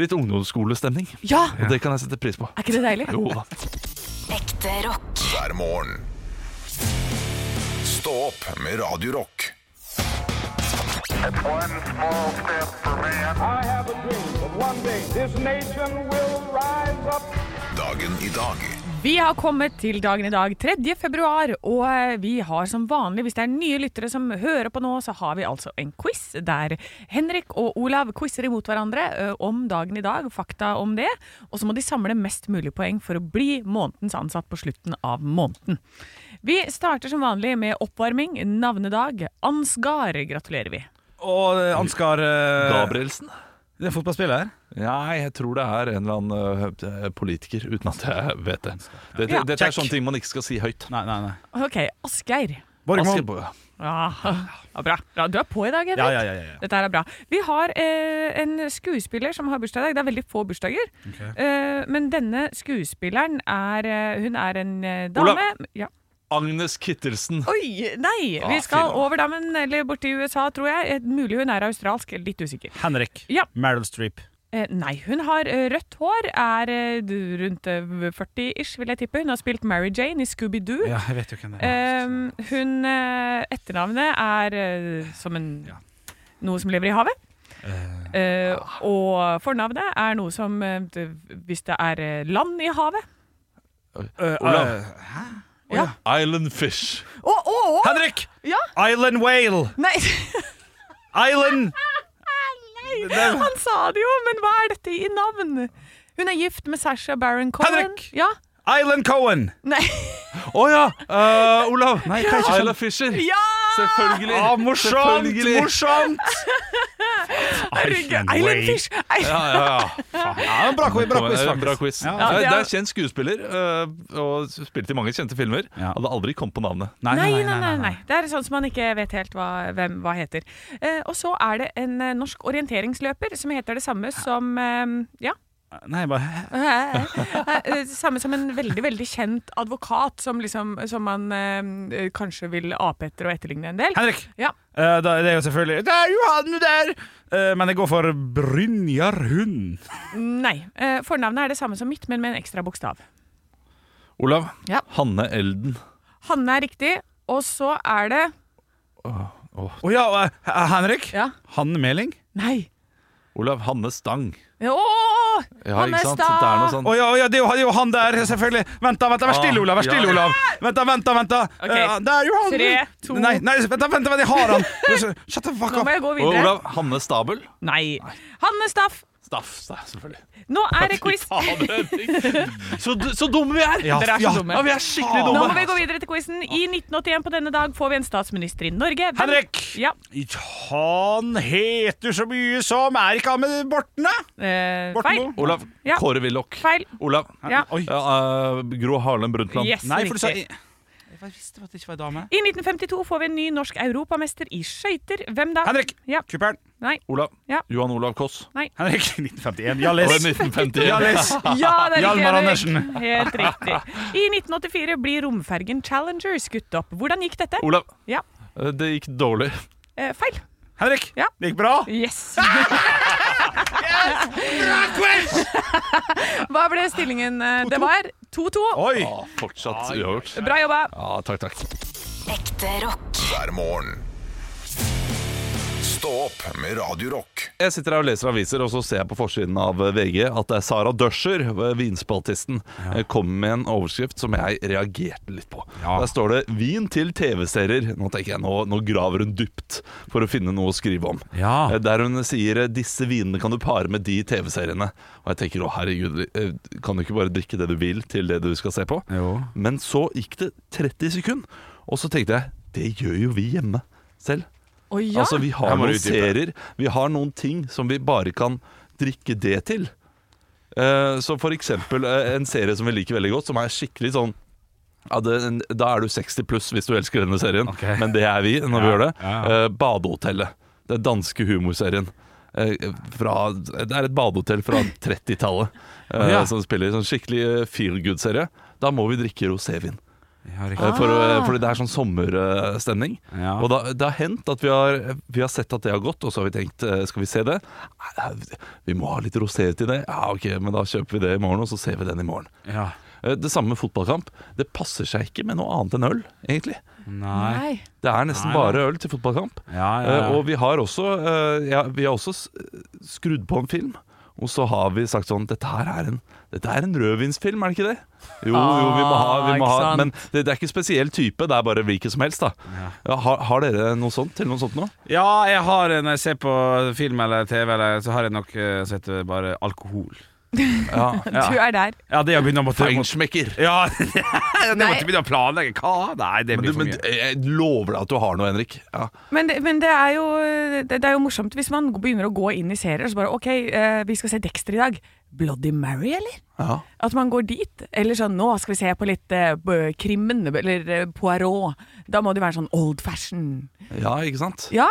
Speaker 2: Litt ungdomsskolestemning.
Speaker 3: Ja!
Speaker 2: Og det kan jeg sette pris på.
Speaker 3: Er ikke det deilig?
Speaker 2: Jo da.
Speaker 6: Ekte rock.
Speaker 7: hver morgen. Stå opp med Radio Rock.
Speaker 8: I have a dream that one day this nation will rise up.
Speaker 7: Dagen i dag
Speaker 3: Vi har kommet til dagen i dag, 3. februar, og eh, vi har som vanlig, hvis det er nye lyttere som hører på nå, så har vi altså en quiz der Henrik og Olav quizer imot hverandre ø, om dagen i dag, fakta om det, og så må de samle mest mulig poeng for å bli månedens ansatt på slutten av måneden. Vi starter som vanlig med oppvarming, navnedag. Ansgar gratulerer vi.
Speaker 4: Og eh, Ansgar eh,
Speaker 2: Gabrielsen?
Speaker 4: Det er fotballspiller?
Speaker 2: Nei, jeg tror det er en eller annen øh, politiker, uten at jeg vet det. Dette,
Speaker 3: Ja.
Speaker 2: dette er
Speaker 4: Check.
Speaker 2: sånne ting man ikke skal si høyt.
Speaker 4: Nei, nei, nei.
Speaker 3: Ok, Asgeir.
Speaker 4: Borgmo.
Speaker 2: Askebo, ja.
Speaker 3: Ja, ja, bra. bra. Du er på i dag, Henrik.
Speaker 4: Ja, ja, ja, ja, ja.
Speaker 3: Dette her er bra. Vi har eh, en skuespiller som har bursdag i dag. Det er veldig få bursdager. Eh, men denne skuespilleren er eh, Hun er en eh, dame
Speaker 2: Olav.
Speaker 3: Ja.
Speaker 2: Agnes Kittelsen.
Speaker 3: Oi, nei!
Speaker 2: Ah,
Speaker 3: Vi skal
Speaker 2: fy da.
Speaker 3: over dammen, eller borti USA, tror jeg. Eh, Mulig hun er australsk, litt usikker.
Speaker 4: Henrik.
Speaker 3: Ja.
Speaker 4: Meryl Streep.
Speaker 3: Eh, nei, hun har eh, rødt hår, er eh, du- rundt eh, 40-ish, vil jeg tippe. Hun har spilt Mary Jane i Scooby-Doo.
Speaker 4: Ja, jeg vet jo hvem det er.
Speaker 3: Ehm, hun eh, Etternavnet er eh, som en
Speaker 4: Ja.
Speaker 3: noe som lever i havet. Eh, og fornavnet er noe som eh, det, Hvis det er eh, land i havet
Speaker 4: Eh,
Speaker 2: Olav.
Speaker 4: eh,
Speaker 2: Island Fish.
Speaker 3: Å, å, å!
Speaker 4: Henrik!
Speaker 3: Ja.
Speaker 4: Island Whale!
Speaker 3: Nei,
Speaker 4: Island
Speaker 3: nei, han sa det jo, men hva er dette i navn? Hun er gift med Sasha Baron Cohen.
Speaker 4: Henrik!
Speaker 3: Ja.
Speaker 4: Island Cohen!
Speaker 3: Nei.
Speaker 2: Å ja! øh, Olav.
Speaker 4: Nei, hva er det som-
Speaker 2: Isla Fisher.
Speaker 3: ja!
Speaker 2: Selvfølgelig.
Speaker 4: Ah, morsomt!
Speaker 2: Selvfølgelig.
Speaker 4: Morsomt!
Speaker 3: Herregud, Island Fish! Island-
Speaker 2: Ja, ja, ja.
Speaker 4: Ja, en bra quiz, bra quiz,
Speaker 2: Det er en
Speaker 4: faktisk.
Speaker 2: Bra quiz.
Speaker 4: Ja.
Speaker 2: det,
Speaker 3: Ja,
Speaker 2: er,
Speaker 3: det
Speaker 2: det
Speaker 3: er-
Speaker 2: er kjent skuespiller, øh, og spilte i mange kjente filmer.
Speaker 4: Ja.
Speaker 2: Hadde aldri kommet på navnet.
Speaker 3: Nei, nei, nei, nei, Det er sånn som man ikke vet helt hva, hvem hva heter. Eh, og så er det en eh, norsk orienteringsløper som heter det samme som eh, Ja.
Speaker 4: Nei, bare
Speaker 3: Eh, samme som en veldig, veldig kjent advokat som, liksom, som man eh, kanskje vil ape etter og etterligne en del.
Speaker 4: Henrik!
Speaker 3: Ja.
Speaker 4: Eh, da, det er jo selvfølgelig Det er Johan der! Eh, men jeg går for Brynjar Hund.
Speaker 3: Nei. Eh, fornavnet er det samme som mitt, men med en ekstra bokstav.
Speaker 2: Olav.
Speaker 3: Ja.
Speaker 2: Hanne Elden.
Speaker 3: Hanne er riktig. Og så er det
Speaker 4: Å ja, eh, Henrik?
Speaker 3: Ja.
Speaker 4: Hanne Meling?
Speaker 3: Nei.
Speaker 2: Olav Hanne Stang.
Speaker 3: Ååå!
Speaker 2: Ja, ikke sant?
Speaker 3: Stang!
Speaker 2: Det er noe sånn
Speaker 4: Å ja, å ja, det er jo- det er jo han der, selvfølgelig. Vent, da, vent, da, vær stille,
Speaker 2: Ah,
Speaker 4: Olav. Vær
Speaker 2: ja.
Speaker 4: stille, Olav. Vent, da, vent, da. vent da
Speaker 3: Ok.
Speaker 4: Eh, Det er Johan!
Speaker 3: Tre, to-
Speaker 4: Nei, nei, vent, da, vent, da, vent, jeg har han! Shut the fuck
Speaker 3: Nå
Speaker 4: up.
Speaker 3: må jeg gå
Speaker 2: Og
Speaker 3: videre.
Speaker 2: Olav Hanne Stabel.
Speaker 3: Nei. Hanne Staff,
Speaker 2: Staff, da, selvfølgelig.
Speaker 3: nå er det quiz.
Speaker 2: Så, så dumme vi er!
Speaker 4: Ja,
Speaker 3: Dere er så
Speaker 4: ja.
Speaker 3: dumme.
Speaker 2: Ja, vi er skikkelig
Speaker 3: Nå må
Speaker 2: dumme.
Speaker 3: vi gå videre til quizen. I 1981 på denne dag får vi en statsminister i Norge. Hvem-
Speaker 4: Henrik!
Speaker 3: Ja.
Speaker 4: Han heter så mye som Er ikke han med Borten, da?
Speaker 3: eh, feil.
Speaker 4: Borten Moe?
Speaker 2: Olav
Speaker 3: Ja.
Speaker 2: Kåre Willoch.
Speaker 3: Feil.
Speaker 2: Olav
Speaker 3: Ja.
Speaker 4: Oi.
Speaker 2: ja, øh, Gro Harlem Brundtland.
Speaker 3: Yes,
Speaker 4: Nei, for du sa
Speaker 3: riktig.
Speaker 4: Jeg visste at det ikke var dame.
Speaker 3: I 1952 får vi en ny norsk europamester i skøyter. Hvem da?
Speaker 4: Henrik!
Speaker 3: Ja.
Speaker 4: Kuperen.
Speaker 3: Nei.
Speaker 2: Olav.
Speaker 3: Ja.
Speaker 2: Johan Olav Koss.
Speaker 4: Henrik 1951.
Speaker 2: Og
Speaker 4: Hjallis.
Speaker 2: 1951.
Speaker 4: Hjallis.
Speaker 3: Ja, det er riktig,
Speaker 4: Hjalmar
Speaker 3: Henrik.
Speaker 4: Andersen.
Speaker 3: Helt riktig. I 1984 blir romfergen Challenger skutt opp. Hvordan gikk dette?
Speaker 2: Olav.
Speaker 3: Ja.
Speaker 2: øh, Det gikk dårlig.
Speaker 3: Eh, feil.
Speaker 4: Henrik,
Speaker 3: Ja.
Speaker 4: det gikk bra.
Speaker 3: Yes! Hva ble stillingen? eh, Det var 2-2.
Speaker 4: Oi!
Speaker 2: Ah, fortsatt uavgjort.
Speaker 3: Bra jobba.
Speaker 2: Ja, takk, takk.
Speaker 6: Ekte rock.
Speaker 7: hver morgen. Stå opp med Radio Rock.
Speaker 2: Jeg sitter her og leser aviser, og så ser jeg på forsiden av VG at det er Sara Døscher, vinspaltisten, eh, kommer med en overskrift som jeg reagerte litt på.
Speaker 4: Ja.
Speaker 2: Der står det 'Vin til TV-serier'. Nå tenker jeg, nå, nå graver hun dypt for å finne noe å skrive om.
Speaker 4: Ja.
Speaker 2: Eh, Der hun sier 'disse vinene kan du pare med de TV-seriene'. Og jeg tenker 'å herregud, eh, kan du ikke bare drikke det du vil til det du skal se på'?
Speaker 4: Jo.
Speaker 2: Men så gikk det 30 sekunder, og så tenkte jeg 'det gjør jo vi hjemme selv'.
Speaker 3: Å ja.
Speaker 2: Altså, vi har
Speaker 4: Her må
Speaker 2: noen
Speaker 4: du utdype.
Speaker 2: serier, vi har noen ting som vi bare kan drikke det til. Eh, så for eksempel eh, en serie som vi liker veldig godt, som er skikkelig sånn ja, det, Da er du 60 pluss hvis du elsker denne serien,
Speaker 4: Ok.
Speaker 2: men det er vi når vi
Speaker 4: Ja,
Speaker 2: gjør det.
Speaker 4: ja,
Speaker 2: Eh, Badehotellet. Den danske humorserien. Eh, fra, det er et badehotell fra 30-tallet eh,
Speaker 4: Ja.
Speaker 2: som spiller sånn skikkelig eh, feel good-serie. Da må vi drikke rosévin.
Speaker 4: Ja,
Speaker 2: Eh, For, å- fordi det er sånn sommerstemning.
Speaker 4: Ja.
Speaker 2: Og da, det har hendt at vi har, vi har sett at det har gått, og så har vi tenkt eh, skal vi se det? Nei, nei, Vi må ha litt rosé til det. Ja, ok, men da kjøper vi det i morgen, og så ser vi den i morgen.
Speaker 4: Ja.
Speaker 2: Eh, Det samme med fotballkamp. Det passer seg ikke med noe annet enn øl, egentlig.
Speaker 4: Nei.
Speaker 3: Nei.
Speaker 2: Det er nesten
Speaker 4: Nei,
Speaker 2: bare øl til fotballkamp.
Speaker 4: Ja, ja,
Speaker 2: Eh,
Speaker 4: ja.
Speaker 2: Og vi har også, eh, ja, vi har også s- skrudd på en film. Og så har vi sagt sånn Dette her er en, dette er en rødvinsfilm, er det ikke det? Jo, jo, vi må ha, vi må
Speaker 3: Ah, ikke
Speaker 2: ha
Speaker 3: sant.
Speaker 2: Men det, det er ikke spesiell type, det er bare hvilken som helst, da. Ja, har, har dere noe sånt til noe sånt nå?
Speaker 4: ja, jeg har når jeg ser på film eller TV, eller, så har jeg nok eh, så heter det eh, bare alkohol.
Speaker 2: Ja,
Speaker 3: Du
Speaker 4: Ja,
Speaker 3: er der.
Speaker 4: ja det å begynne å måtte
Speaker 2: Feinschmecker.
Speaker 4: Ja, det måtte begynne å planlegge. Hva? Nei, det
Speaker 2: Men,
Speaker 4: blir
Speaker 2: du,
Speaker 4: for
Speaker 2: men
Speaker 4: mye.
Speaker 2: jeg lover deg at du har noe, Henrik. Ja.
Speaker 3: Men, det, men det, er jo, det, det er jo morsomt hvis man begynner å gå inn i serier og så bare OK, eh, vi skal se Dexter i dag. Bloody Mary, eller?
Speaker 2: Ja.
Speaker 3: At man går dit. Eller sånn nå skal vi se på litt eh, b- Krimmen eller eh, Poirot. Da må det være sånn old fashion.
Speaker 2: ja, ikke sant?
Speaker 3: Ja.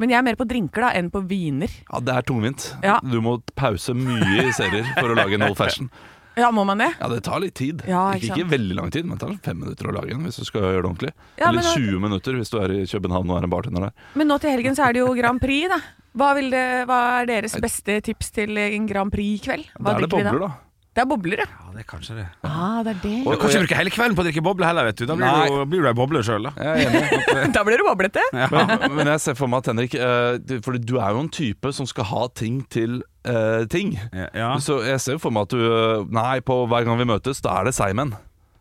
Speaker 3: Men jeg er mer på drinker da enn på viner.
Speaker 2: Ja, Det er tungvint.
Speaker 3: Ja.
Speaker 2: Du må pause mye i serier for å lage en old fashion.
Speaker 3: Ja, må man det?
Speaker 2: Ja, Det tar litt tid.
Speaker 3: Ja, ikke
Speaker 2: ikke,
Speaker 3: sant.
Speaker 2: ikke veldig lang tid, men det tar fem minutter å lage en hvis du skal gjøre det ordentlig.
Speaker 3: Ja, men
Speaker 2: Eller
Speaker 3: da-
Speaker 2: 20 minutter hvis du er i København og er en bartender der.
Speaker 3: Men nå til helgen så er det jo Grand Prix, da. Hva, vil det, hva er deres beste tips til en Grand Prix-kveld? Hva
Speaker 2: Da er det
Speaker 3: drikker vi da?
Speaker 2: bobler, da.
Speaker 3: Det er bobler, ja.
Speaker 4: Ja, det er kanskje det.
Speaker 3: Ah, det er det.
Speaker 4: Du kan ikke bruke hele kvelden på å drikke boble heller, vet du. Da blir du, blir du ei boble sjøl, da.
Speaker 2: Jeg er enig.
Speaker 3: Da blir det boblete.
Speaker 2: Men, men jeg ser for meg at Henrik eh, du- Fordi du er jo en type som skal ha ting til eh, ting.
Speaker 4: Ja.
Speaker 2: Så jeg ser jo for meg at du eh, Nei, på hver gang vi møtes, da er det seigmenn.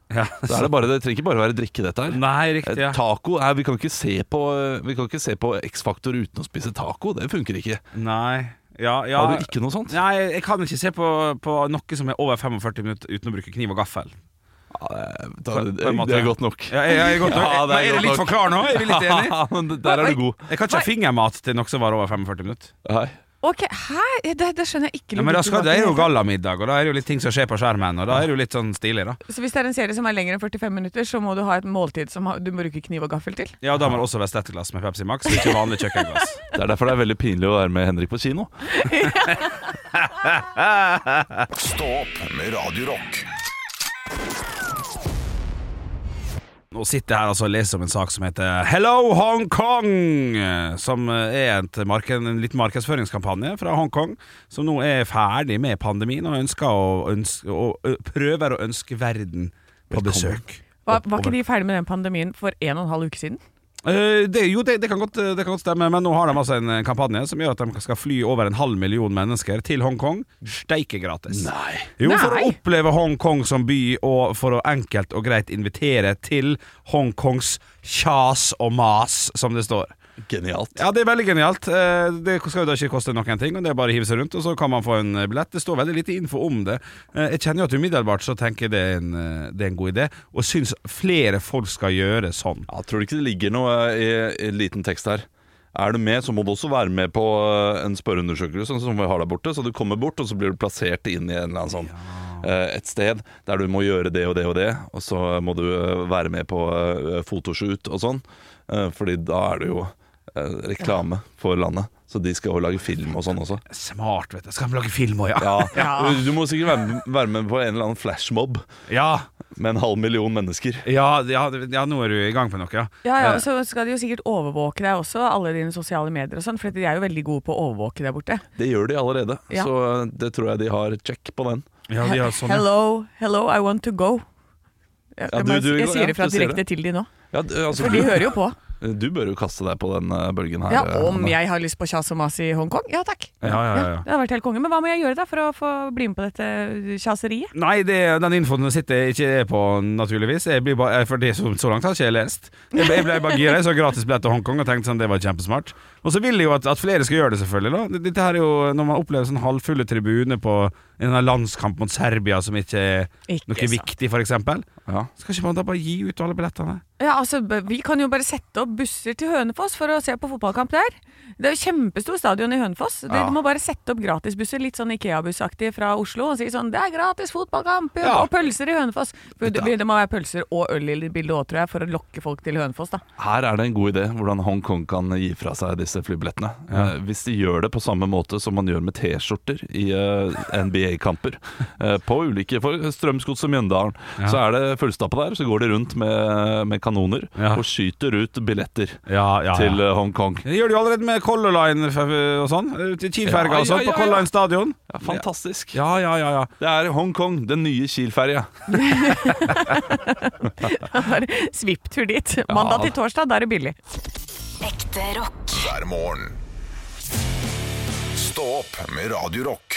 Speaker 4: Ja.
Speaker 2: Da er Det bare, det trenger ikke bare være drikke, dette her.
Speaker 4: Nei,
Speaker 2: Eh,
Speaker 4: riktig. Ja.
Speaker 2: Taco er, Vi kan ikke se på, eh, vi kan ikke se på X-Faktor uten å spise taco. Det funker ikke.
Speaker 4: Nei. Ja, ja.
Speaker 2: Har du ikke noe sånt?
Speaker 4: Nei, jeg kan ikke se på, på noe som er over 45 minutter uten å bruke kniv og gaffel.
Speaker 2: Eh, Da,
Speaker 4: på- på en måte.
Speaker 2: det er godt nok.
Speaker 4: Ja, jeg, jeg er godt,
Speaker 2: Ja, det er
Speaker 4: men er
Speaker 2: godt
Speaker 4: det litt
Speaker 2: nok.
Speaker 4: for klar nå? Er vi litt enige?
Speaker 2: Men der er du god.
Speaker 4: Jeg kan ikke ha fingermat til noe som varer over 45 minutter.
Speaker 2: Nei.
Speaker 3: Ok, hæ? Det, det skjønner jeg ikke.
Speaker 4: Ja, men da
Speaker 3: logikken
Speaker 4: skal,
Speaker 3: bak
Speaker 4: det er jo
Speaker 3: hele tatt.
Speaker 4: gallamiddag, og da er det jo litt ting som skjer på skjermen. Og da er det jo litt sånn stilig, da.
Speaker 3: Så hvis det er en serie som er lengre enn 45 minutter, så må du ha et måltid som ha- du må bruke kniv og gaffel til?
Speaker 4: Ja, og da må det også være stettglass med Pepsi Max, og ikke vanlig kjøkkenglass.
Speaker 2: Det er derfor det er veldig pinlig å være med Henrik på kino.
Speaker 7: Stå opp med Radio Rock.
Speaker 4: Nå sitter jeg her altså og leser om en sak som heter Hello Hong Kong! Som er et marked, en liten markedsføringskampanje fra Hongkong, som nå er ferdig med pandemien og, ønsker å, ønske, og ø, prøver å ønske verden på besøk.
Speaker 3: Var, var ikke de ferdig med den pandemien for en og en halv uke siden?
Speaker 4: Eh, det, jo, det, det, kan godt, det kan godt stemme, men nå har de altså en eh, kampanje som gjør at de skal fly over en halv million mennesker til Hongkong. Steike gratis. Nei. Jo, for å
Speaker 3: Nei.
Speaker 4: oppleve Hongkong som by, og for å enkelt og greit invitere til Hongkongs kjas og mas, som det står.
Speaker 2: Genialt.
Speaker 4: Ja, det er veldig genialt. Eh, Det skal jo da ikke koste noen ting, og det er bare å hive seg rundt, og så kan man få en eh, billett. Det står veldig lite info om det. Eh, Jeg kjenner jo at umiddelbart så tenker jeg det er en, eh, det er en god idé, og syns flere folk skal gjøre sånn.
Speaker 2: Ja, tror du ikke det ligger noe i, i en liten tekst her? Er du med, så må du også være med på eh, en spørreundersøkelse sånn som vi har der borte. Så du kommer bort, og så blir du plassert inn i en eller annen sånn eh, et sted der du må gjøre det og det og det, og så må du eh, være med på eh, fotoshoot og sånn. Eh, Fordi da er det jo eh, reklame for landet. Så de skal jo lage film og sånn også.
Speaker 4: Smart, vet du. Skal vi lage film òg, ja.
Speaker 2: Ja. Du må sikkert være med, være med på en eller annen flashmob
Speaker 4: Ja,
Speaker 2: med en halv million mennesker.
Speaker 4: ja, ja, det- ja nå er du i gang med noe, ja.
Speaker 3: Ja, ja, og Så skal de jo sikkert overvåke deg også, alle dine sosiale medier og sånn, for de er jo veldig gode på å overvåke der borte.
Speaker 2: Det gjør de allerede,
Speaker 3: Ja.
Speaker 2: så eh, det tror jeg de har check på den.
Speaker 4: ja de har sånn, ja.
Speaker 3: Hello, hello, I want to go. Jeg,
Speaker 2: Ja,
Speaker 3: jeg
Speaker 2: du-
Speaker 3: bare-
Speaker 2: du-
Speaker 3: jeg sier det fra
Speaker 2: ja, du sier
Speaker 3: direkte
Speaker 2: det.
Speaker 3: til de nå,
Speaker 2: Ja, d- altså,
Speaker 3: for de hører jo på.
Speaker 2: Du bør jo kaste deg på den eh, bølgen her.
Speaker 3: Ja,
Speaker 2: eh,
Speaker 3: Om
Speaker 2: Hanne.
Speaker 3: jeg har lyst på kjas og mas i Hongkong? Ja takk.
Speaker 4: Ja, ja, ja, ja.
Speaker 3: Det hadde vært helt konge. Men hva må jeg gjøre da for å få bli med på dette kjaseriet?
Speaker 4: Nei, det, den infoen som sitter jeg ikke er på, naturligvis. Jeg blir bare, for det som så langt har ikke jeg lest. Jeg ble, jeg ble bare gira. Jeg så gratis billett til Hongkong og tenkte sånn, det var kjempesmart. Og så vil jeg jo at, at flere skal gjøre det, selvfølgelig. da Dette her er jo Når man opplever sånn halvfulle tribuner på en eller annen landskamp mot Serbia som ikke er
Speaker 3: Ikke
Speaker 4: noe
Speaker 3: sant.
Speaker 4: viktig, f.eks., skal
Speaker 2: Ja.
Speaker 4: ikke man da bare gi ut alle billettene?
Speaker 3: Ja, altså, b- Vi kan jo bare sette opp busser til Hønefoss for å se på fotballkamp der. Det er jo kjempestor stadion i Hønefoss. Det-
Speaker 2: Ja.
Speaker 3: Du må bare sette opp gratisbusser, litt sånn Ikea-bussaktig fra Oslo, og si sånn 'Det er gratis fotballkamp
Speaker 4: Ja.
Speaker 3: og pølser i Hønefoss'. For det, det må være pølser og øl i bildet òg, tror jeg, for å lokke folk til Hønefoss, da.
Speaker 2: Her er det en god idé hvordan Hongkong kan gi fra seg disse flybillettene. Eh, Hvis de gjør det på samme måte som man gjør med T-skjorter i eh, NBA-kamper, eh, på ulike for Strømsgodset og Mjøndalen, så er det fullstappa der. Så går de rundt med, med kanoner
Speaker 4: Ja.
Speaker 2: og skyter ut billetter
Speaker 4: Ja, ja,
Speaker 2: til eh, Hongkong.
Speaker 4: Det gjør du jo allerede med Color Line f- og sånn. Til Kielferga og
Speaker 2: Ja, ja,
Speaker 4: sånn,
Speaker 2: ja,
Speaker 4: på Color
Speaker 2: ja.
Speaker 4: Line stadion.
Speaker 2: Ja, fantastisk.
Speaker 4: Ja, ja, ja, ja.
Speaker 2: Det er Hongkong, den nye Kiel-ferja.
Speaker 3: Bare Svipptur dit. Mandag til torsdag, da er det billig.
Speaker 6: Ekte rock.
Speaker 7: hver morgen. Stå opp med Radio Rock.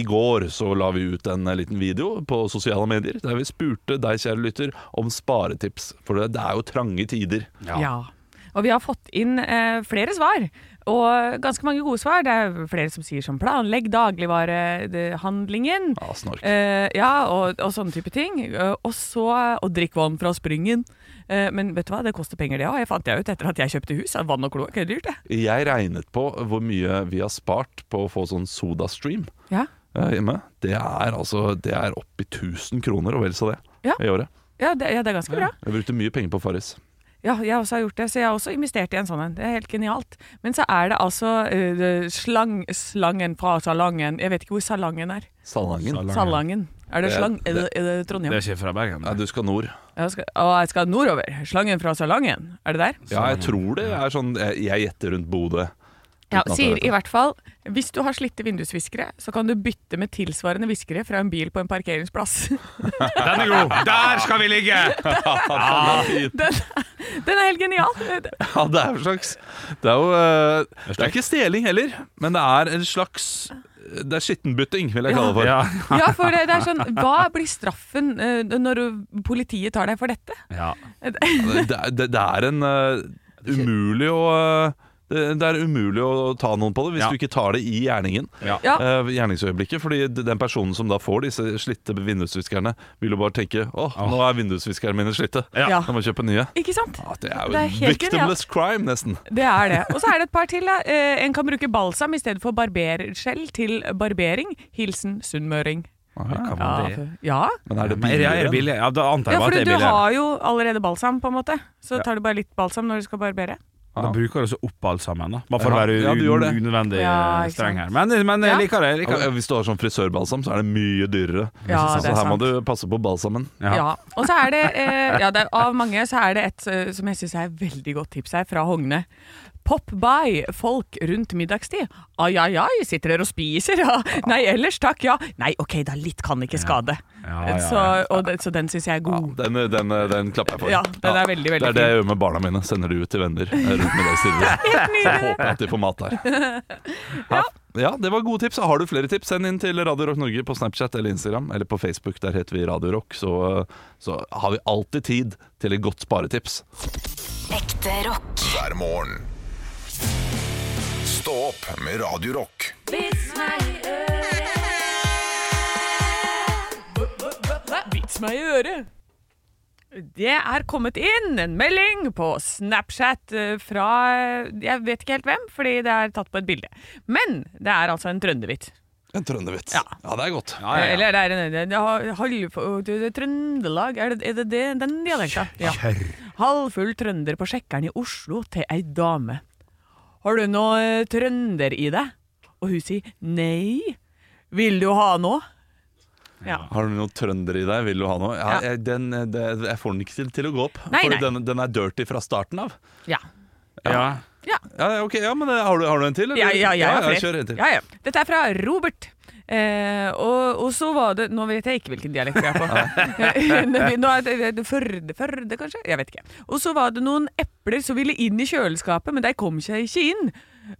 Speaker 2: I går så la vi ut en eh, liten video på sosiale medier der vi spurte deg, kjære lytter, om sparetips. For det det er jo trange tider.
Speaker 3: Ja. Og vi har fått inn eh, flere svar. Og ganske mange gode svar. Det er flere som sier som planlegg dagligvarehandlingen.
Speaker 2: Ja, snork.
Speaker 3: Eh, ja, og, og sånne type ting. Eh, og så Og drikk vann fra springen. Eh, men vet du hva, det koster penger, det òg. Jeg fant jeg ut etter at jeg kjøpte hus. at Vann og kloakk er dyrt, det.
Speaker 2: Jeg regnet på hvor mye vi har spart på å få sånn sodastream
Speaker 3: Ja.
Speaker 2: eh, hjemme. Det er altså Det er oppi 1000 kroner og vel så det
Speaker 3: Ja.
Speaker 2: i året.
Speaker 3: Ja, det, ja, det er ganske bra.
Speaker 2: Jeg brukte mye penger på Farris.
Speaker 3: Ja, jeg også har gjort det, så jeg har også investert i en sånn en. Det er helt genialt. Men så er det altså eh, det- slang, slangen fra salongen. Jeg vet ikke hvor salongen er.
Speaker 2: Salangen.
Speaker 3: Salangen. Er det
Speaker 2: Det-
Speaker 3: slang? Er det,
Speaker 2: det-
Speaker 3: er det Trondheim?
Speaker 4: Det er ikke fra Bergen.
Speaker 2: Nei, du skal nord.
Speaker 3: Jeg skal, og jeg skal nordover. Slangen fra Salangen. Er det der?
Speaker 2: Ja, jeg tror det er sånn Jeg jeg gjetter rundt Bodø.
Speaker 3: Ja,
Speaker 2: Uten at jeg
Speaker 3: sier
Speaker 2: vet
Speaker 3: i hvert fall Hvis du har slitte vindusviskere, så kan du bytte med tilsvarende viskere fra en bil på en parkeringsplass.
Speaker 4: Den er god! Der skal vi ligge!
Speaker 3: Den er helt genial!
Speaker 2: Ja, det er en slags Det er jo eh, Det er ikke stjeling heller, men det er en slags Det er skittenbytting, vil jeg kalle det for.
Speaker 4: Ja.
Speaker 3: Ja, for det, det er sånn Hva blir straffen eh, når politiet tar deg for dette?
Speaker 4: ja.
Speaker 2: Det, er- det, det er en eh, umulig å eh, det, det er umulig å ta noen på det hvis
Speaker 4: Ja.
Speaker 2: du ikke tar det i gjerningen.
Speaker 4: Ja.
Speaker 3: Ja.
Speaker 2: eh, gjerningsøyeblikket Fordi d- den personen som da får disse slitte vindusviskerne, vil jo bare tenke Å, nå er vindusviskerne mine slitte.
Speaker 4: Ah. Ja.
Speaker 3: Ja.
Speaker 2: Jeg må kjøpe nye.
Speaker 3: Ikke sant?
Speaker 2: Ja, det er jo
Speaker 3: Det er helt
Speaker 2: victimless crime, nesten.
Speaker 3: Det er det. Og så er det et par til. da. Eh, En kan bruke balsam i stedet for barberskjell til barbering. Hilsen sunnmøring.
Speaker 4: Kan
Speaker 3: Ja,
Speaker 4: man det?
Speaker 3: ja.
Speaker 2: Men er det
Speaker 4: Men er det- er
Speaker 2: billigere?
Speaker 4: det billig? Ja, da antar
Speaker 3: ja
Speaker 4: jeg bare
Speaker 3: for
Speaker 4: at
Speaker 3: du
Speaker 4: det er billigere.
Speaker 3: har jo allerede balsam, på en måte. Så tar du bare litt balsam når du skal barbere.
Speaker 4: Da bruker du så opp alt sammen, da. Bare for å
Speaker 2: Ja.
Speaker 4: være
Speaker 2: Ja, du gjør det.
Speaker 4: un unødvendig
Speaker 3: Ja,
Speaker 4: eh,
Speaker 3: ikke
Speaker 4: streng her.
Speaker 3: sant.
Speaker 4: Men, men jeg
Speaker 3: Ja.
Speaker 4: liker det. Jeg
Speaker 2: Ja,
Speaker 4: liker det.
Speaker 2: Hvis du har sånn frisørbalsam, så er det mye dyrere.
Speaker 3: Ja, det
Speaker 2: så
Speaker 3: er
Speaker 2: her må
Speaker 3: sant.
Speaker 2: du passe på balsamen.
Speaker 4: Ja.
Speaker 3: Ja. Og så er det, eh, ja, det er, av mange så er det et eh, som jeg syns er et veldig godt tips her, fra Hogne. Pop by folk rundt middagstid. Ai, ai, ai, sitter dere og spiser? Ja. Nei, ellers takk, ja. Nei, ok, da litt kan ikke skade.
Speaker 4: Ja, ja, ja.
Speaker 3: Så, og det, så den syns jeg
Speaker 2: Ja,
Speaker 3: er god.
Speaker 2: den, den, den klapper jeg for.
Speaker 3: Ja, den er veldig, veldig
Speaker 2: Det er det jeg gjør med barna mine. Sender de ut til venner eh, rundt middagstid. Håper at de får mat der. Ja. ja, det var gode tips. Har du flere tips, send inn til Radio Rock Norge på Snapchat eller Instagram. Eller på Facebook, der heter vi Radio Rock. Så, så har vi alltid tid til et godt sparetips.
Speaker 6: Ekte rock.
Speaker 7: hver morgen. Stå opp med Radio Rock.
Speaker 3: Vits meg i øret! Det er kommet inn en melding på Snapchat eh, fra eh, Jeg vet ikke helt hvem, fordi det er tatt på et bilde. Men det er altså en trøndervits.
Speaker 2: En trøndervits.
Speaker 3: Ja.
Speaker 2: ja, det er godt.
Speaker 4: Ah,
Speaker 3: Eller det er en det er halv, det er Trøndelag, er det, er det, det den dialekta? Ja. Halvfull trønder på sjekkeren i Oslo til ei dame. Har du noe eh, trønder i deg? Og hun sier nei. Vil du ha noe? Ja.
Speaker 2: Har du noe trønder i deg? Vil du ha noe? Ja,
Speaker 3: Ja.
Speaker 2: jeg, den, eh, det, jeg får den ikke til, til å gå opp.
Speaker 3: Nei,
Speaker 2: fordi
Speaker 3: nei.
Speaker 2: Den, den er dirty fra starten av.
Speaker 3: Ja.
Speaker 4: Ja.
Speaker 2: Ja, ja, ok, ja, men eh, har du, har du en til? eller?
Speaker 3: Ja, ja, ja, jeg har flere.
Speaker 2: Kjør en til.
Speaker 3: Ja, ja. Dette er fra Robert. Eh, og, og så var det Nå vet jeg ikke hvilken dialekt vi er på. nå er det- det Førde, Førde, kanskje? Jeg vet ikke. Og så var det noen epler som ville inn i kjøleskapet, men de kom seg ikke inn.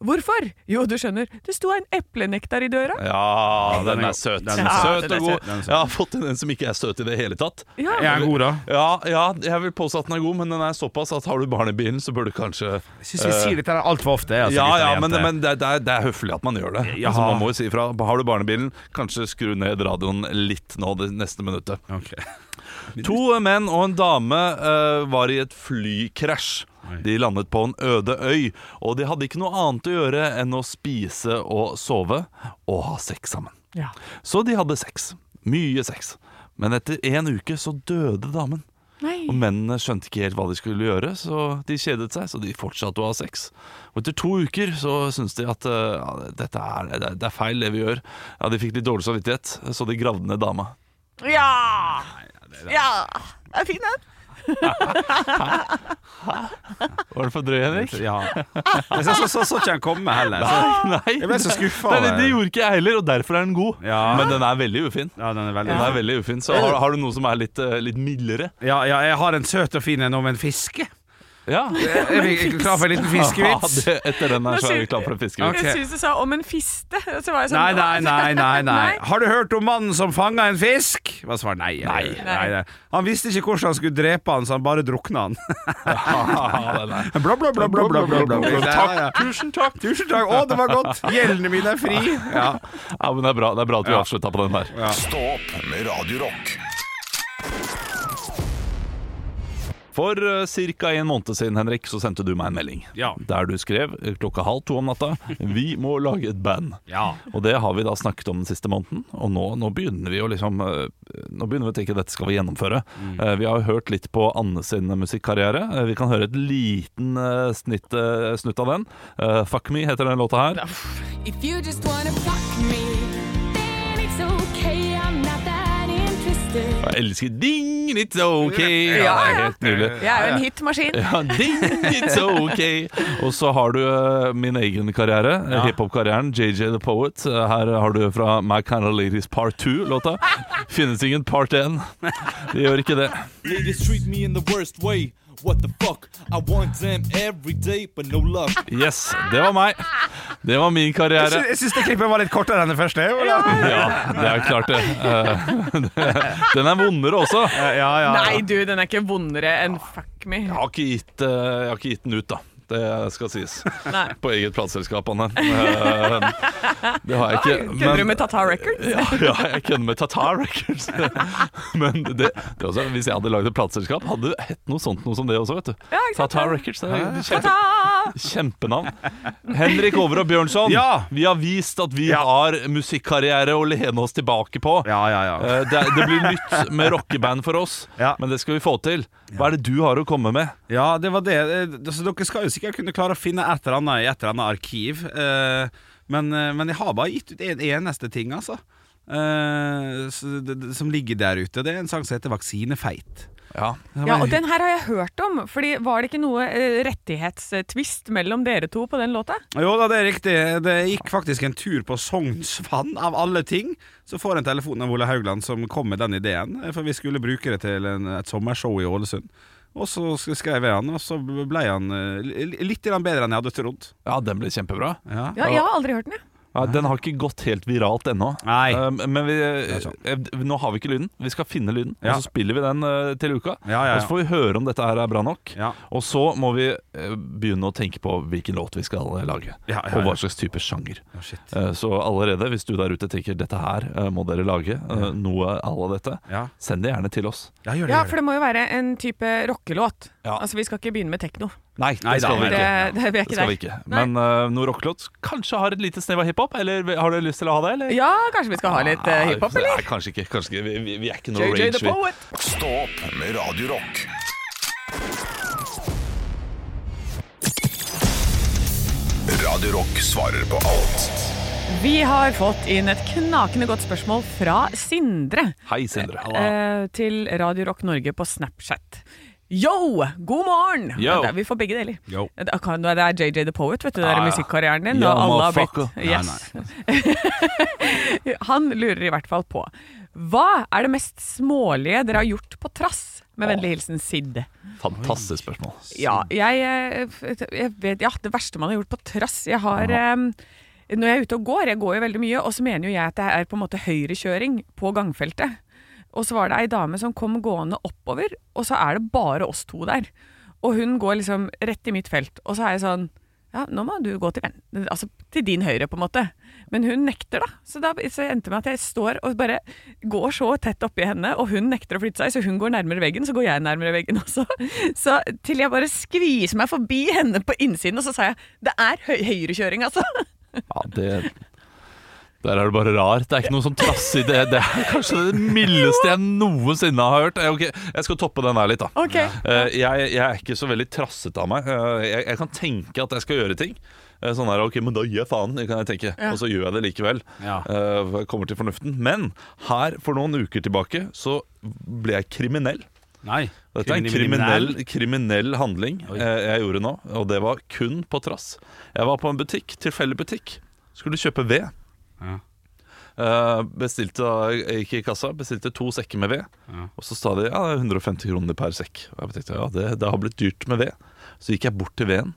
Speaker 3: Hvorfor? Jo, du skjønner, det sto en eplenektar i døra.
Speaker 2: Ja, den
Speaker 4: er
Speaker 2: er
Speaker 4: god.
Speaker 2: søt.
Speaker 4: Den er
Speaker 3: søt.
Speaker 2: søt
Speaker 3: Den er
Speaker 2: og god.
Speaker 4: søt. Den er søt.
Speaker 2: Jeg har fått en som ikke er søt i det hele tatt.
Speaker 3: Ja,
Speaker 4: Er den god, da?
Speaker 2: Ja, ja, jeg vil påstå at den er god, men den er såpass at har du barn i bilen, så burde du kanskje
Speaker 4: Jeg syns vi sier dette altfor ofte. Altså,
Speaker 2: Ja,
Speaker 4: gutter og
Speaker 2: ja, men,
Speaker 4: jenter.
Speaker 2: men det, det, er, det er høflig at man gjør det.
Speaker 4: Ja.
Speaker 2: Altså, man må jo si ifra. Har du barn i bilen, kanskje skru ned radioen litt nå det neste minuttet.
Speaker 4: Ok.
Speaker 2: To menn og en dame eh, var i et flykrasj. De landet på en øde øy, og de hadde ikke noe annet å gjøre enn å spise og sove og ha sex sammen.
Speaker 3: Ja.
Speaker 2: Så de hadde sex. Mye sex. Men etter en uke så døde damen.
Speaker 3: Nei.
Speaker 2: Og mennene skjønte ikke helt hva de skulle gjøre, så de kjedet seg. Så de fortsatte å ha sex. Og etter to uker så syntes de at eh, ja, dette er, det, er- det er feil, det vi gjør. Ja, De fikk litt dårlig samvittighet, så de gravde ned dama.
Speaker 3: Ja! Ja! Det er fin, den.
Speaker 2: Var den for drøy, Henrik?
Speaker 4: Ja. Jeg så, så, så, så ikke han komme heller. Så,
Speaker 2: Altså, Nei,
Speaker 4: jeg ble så skuffa.
Speaker 2: Nei, det, det gjorde ikke jeg heller, og derfor er den god.
Speaker 4: Ja.
Speaker 2: Men den er veldig ufin.
Speaker 4: Ja, den er veldig
Speaker 2: Den er veldig ufin Så har, har du noe som er litt, eh, litt mildere?
Speaker 4: ja, ja, jeg har en søt og fin en om en fiske.
Speaker 2: Ja.
Speaker 4: Er vi klar for en liten fiskevits?
Speaker 2: Ja, det, etter den her så er vi
Speaker 3: sier-
Speaker 2: klar for en fiskevits.
Speaker 4: Ok.
Speaker 3: Jeg synes du sa 'om en fiste'. og Så var jeg sånn,
Speaker 4: Nei, nei, nei, nei, nei.
Speaker 3: Nei.
Speaker 4: Har du hørt om mannen som fanga en fisk? Hva svar? Nei. Nei. nei, nei. Han visste ikke hvordan han skulle drepe han, så han bare drukna han.
Speaker 2: Ja, den er-
Speaker 4: Bla, bla, bla, bla, bla, bla, bla.
Speaker 2: Takk,
Speaker 4: Tusen takk. Tusen takk. Å, det var godt. Gjellene mine er fri. Ja.
Speaker 2: Ja, men det er bra, det er bra at vi avslutta på den der.
Speaker 7: Stå opp med Radio Rock.
Speaker 2: For uh, ca. en måned siden Henrik, så sendte du meg en melding.
Speaker 4: Ja.
Speaker 2: Der du skrev eh, klokka halv to om natta Vi må lage et band.
Speaker 4: Ja.
Speaker 2: Og det har vi da snakket om den siste måneden, og nå, nå begynner vi å liksom eh, Nå begynner vi å tenke at dette skal vi gjennomføre. Eh, Vi har jo hørt litt på Anne sin musikkarriere. Eh, Vi kan høre et liten eh, snitt, eh, snutt av den. Eh, Fuck Me heter den låta her.
Speaker 9: If you just wanna fuck me, then it's okay. I'm not that interested.
Speaker 2: Jeg elsker Ding, it's okay! Ja, det er helt nydelig.
Speaker 3: Jeg er jo en hitmaskin.
Speaker 2: Ja, ding, it's okay Og så har du eh, min egen karriere eh, Hiphop-karrieren, JJ the Poet Eh, Her har du fra My Kind of Ladies Part 2 låta Finnes ingen Part 1 Det gjør ikke det
Speaker 10: Ladies treat me in the worst way. What the fuck? I want them every day, but no luck.
Speaker 2: Yes, det var meg Det var min
Speaker 4: Jeg
Speaker 2: karriere
Speaker 4: sy- Jeg syns det klippet var litt kortere enn det første. Ja,
Speaker 2: Ja, det er klart det Eh, Den er vondere også Jeg
Speaker 4: ja, ja.
Speaker 3: Nei, du, den er ikke vondere enn 'fuck me'.
Speaker 2: har ikke gitt, eh, jeg har ikke gitt den ut da det skal sies
Speaker 3: Nei.
Speaker 2: På eget plattselskap, Anne Eh, Det har jeg ikke
Speaker 3: Kødder du
Speaker 2: men-
Speaker 3: med Tatar Records?
Speaker 2: Ja, ja jeg kødder med Tatar Records. Men det, det er også, hvis jeg hadde lagd et plateselskap, hadde det hett noe sånt noe som det også, vet du.
Speaker 3: Ja, ikke sant?
Speaker 2: Tatar Records. Det er kjempe,
Speaker 3: Ta-ta!
Speaker 2: kjempenavn. Henrik Over og Bjørnson,
Speaker 4: Ja!
Speaker 2: vi har vist at vi
Speaker 4: Ja.
Speaker 2: har musikkarriere å lene oss tilbake på.
Speaker 4: ja, ja, ja.
Speaker 2: Eh, Det, det blir nytt med rockeband for oss,
Speaker 4: Ja.
Speaker 2: men det skal vi få til. Hva er det du har å komme med?
Speaker 4: ja det var det. Eh, Altså, dere skal jo sikkert kunne klare å finne et eller annet i et eller annet arkiv. eh, Men, eh, men jeg har bare gitt ut en eneste ting, altså. Eh, så det- det- Som ligger der ute. Det er en sang som heter 'Vaksinefeit'.
Speaker 2: Ja,
Speaker 3: Ja, og den her har jeg hørt om, Fordi var det ikke noe eh, rettighetstvist mellom dere to på den låta?
Speaker 4: Jo da, det er riktig. Det gikk faktisk en tur på Sognsvann, av alle ting. Så får jeg en telefon av Ole Haugland som kom med den ideen, eh, for vi skulle bruke det til en, et sommershow i Ålesund. Og så sk- skrev jeg han, og så ble han eh, li- litt grann bedre enn jeg hadde trodd.
Speaker 2: ja den ble kjempebra.
Speaker 4: Ja.
Speaker 3: Ja, jeg har aldri hørt den, jeg.
Speaker 2: Ja, den har ikke gått helt viralt ennå.
Speaker 4: Nei.
Speaker 2: Um, men vi,
Speaker 4: sant.
Speaker 2: eh, nå har vi ikke lyden. Vi skal finne lyden,
Speaker 4: Ja.
Speaker 2: og så spiller vi den eh, til uka.
Speaker 4: Ja, ja, ja.
Speaker 2: Og så får vi høre om dette her er bra nok.
Speaker 4: Ja.
Speaker 2: Og så må vi eh, begynne å tenke på hvilken låt vi skal eh, lage,
Speaker 4: Ja, ja,
Speaker 2: og
Speaker 4: ja.
Speaker 2: hva slags type sjanger.
Speaker 4: Å, shit.
Speaker 2: Eh, Så allerede, hvis du der ute tenker dette her eh, må dere lage, eh, noe à la dette,
Speaker 4: Ja.
Speaker 2: send det gjerne til oss.
Speaker 4: Ja, gjør det,
Speaker 3: Ja,
Speaker 4: gjør
Speaker 3: for det må jo være en type rockelåt.
Speaker 2: Ja.
Speaker 3: Altså, vi skal ikke begynne med tekno.
Speaker 2: Nei, det
Speaker 4: Nei,
Speaker 2: skal
Speaker 4: da,
Speaker 2: vi
Speaker 3: Det,
Speaker 2: ikke.
Speaker 3: det, vi er
Speaker 2: Det
Speaker 3: ikke
Speaker 2: skal vi
Speaker 3: der.
Speaker 2: ikke.
Speaker 3: Nei.
Speaker 2: Men eh, noe rockelåt kanskje har et lite snev av hiphop, eller har du lyst til å ha det? Eller?
Speaker 3: Ja, kanskje vi skal ha litt eh, hiphop, eller?
Speaker 2: Ah, Nei, kanskje ikke. Kanskje ikke. Vi, vi, vi er ikke noe
Speaker 3: JJ
Speaker 2: rage,
Speaker 3: the
Speaker 2: vi.
Speaker 3: Poet.
Speaker 7: Stå opp med Radio Rock. Radio Rock svarer på alt.
Speaker 3: Vi har fått inn et knakende godt spørsmål fra Sindre
Speaker 2: Hei, Sindre.
Speaker 3: eh, til Radio Rock Norge på Snapchat. Yo! God morgen!
Speaker 2: Yo.
Speaker 3: Det er- Vi får begge deler.
Speaker 4: Yo.
Speaker 3: Det er- kan- Det er JJ The Poet, vet du. Det
Speaker 2: Ja,
Speaker 3: er
Speaker 2: ja.
Speaker 3: musikkarrieren din.
Speaker 2: Ja,
Speaker 3: og alle har
Speaker 2: Ah, motherfucker.
Speaker 3: blitt yes. Han lurer i hvert fall på Hva er det mest smålige dere har gjort på trass? Med vennlig hilsen Sid.
Speaker 2: Fantastisk spørsmål.
Speaker 3: Ja, jeg, eh, f- jeg vet, ja, det verste man har gjort på trass Jeg har eh, em, Når jeg er ute og går, jeg går jo veldig mye Og så mener jo jeg at det er på en måte høyrekjøring På gangfeltet Og så var det ei dame som kom gående oppover Og så er det bare oss to der Og hun går liksom rett i mitt felt Og så er jeg sånn ja, nå må du gå til, ven- altså, til din høyre på en måte Men hun nekter da Så da så endte det med at jeg står og bare Går så tett oppi henne Og hun nekter å flytte seg Så hun går nærmere veggen Så går jeg nærmere veggen også Så til jeg bare skviser meg forbi henne på innsiden Og så sa jeg Det er høy høyrekjøring altså
Speaker 2: Ja, det Der er det bare rar. Det er ikke noe sånn trass i det. Det er kanskje det mildeste jeg noensinne har hørt. Eh, Ok, jeg skal toppe den her litt, da.
Speaker 3: Ok
Speaker 2: Eh, jeg, jeg er ikke så veldig trassete av meg. Eh, jeg, jeg kan tenke at jeg skal gjøre ting. Eh, Sånn her, ok, men da gir jeg faen, kan jeg tenke. Og så gjør jeg det likevel.
Speaker 4: Ja.
Speaker 2: Eh, for jeg kommer til fornuften. Men her, for noen uker tilbake, så ble jeg kriminell.
Speaker 4: det. Nei.
Speaker 2: Dette er en kriminell, kriminell handling eh, jeg gjorde nå, og det var kun på trass. Jeg var på en butikk, tilfeldig butikk, skulle kjøpe ved.
Speaker 4: Ja.
Speaker 2: Eh, bestilte da, jeg gikk i kassa, bestilte to sekker med ved. Og så sa de ja, det er 150 kroner per sekk. Og jeg tenkte ja, det, det har blitt dyrt med ved. Så gikk jeg bort til veden,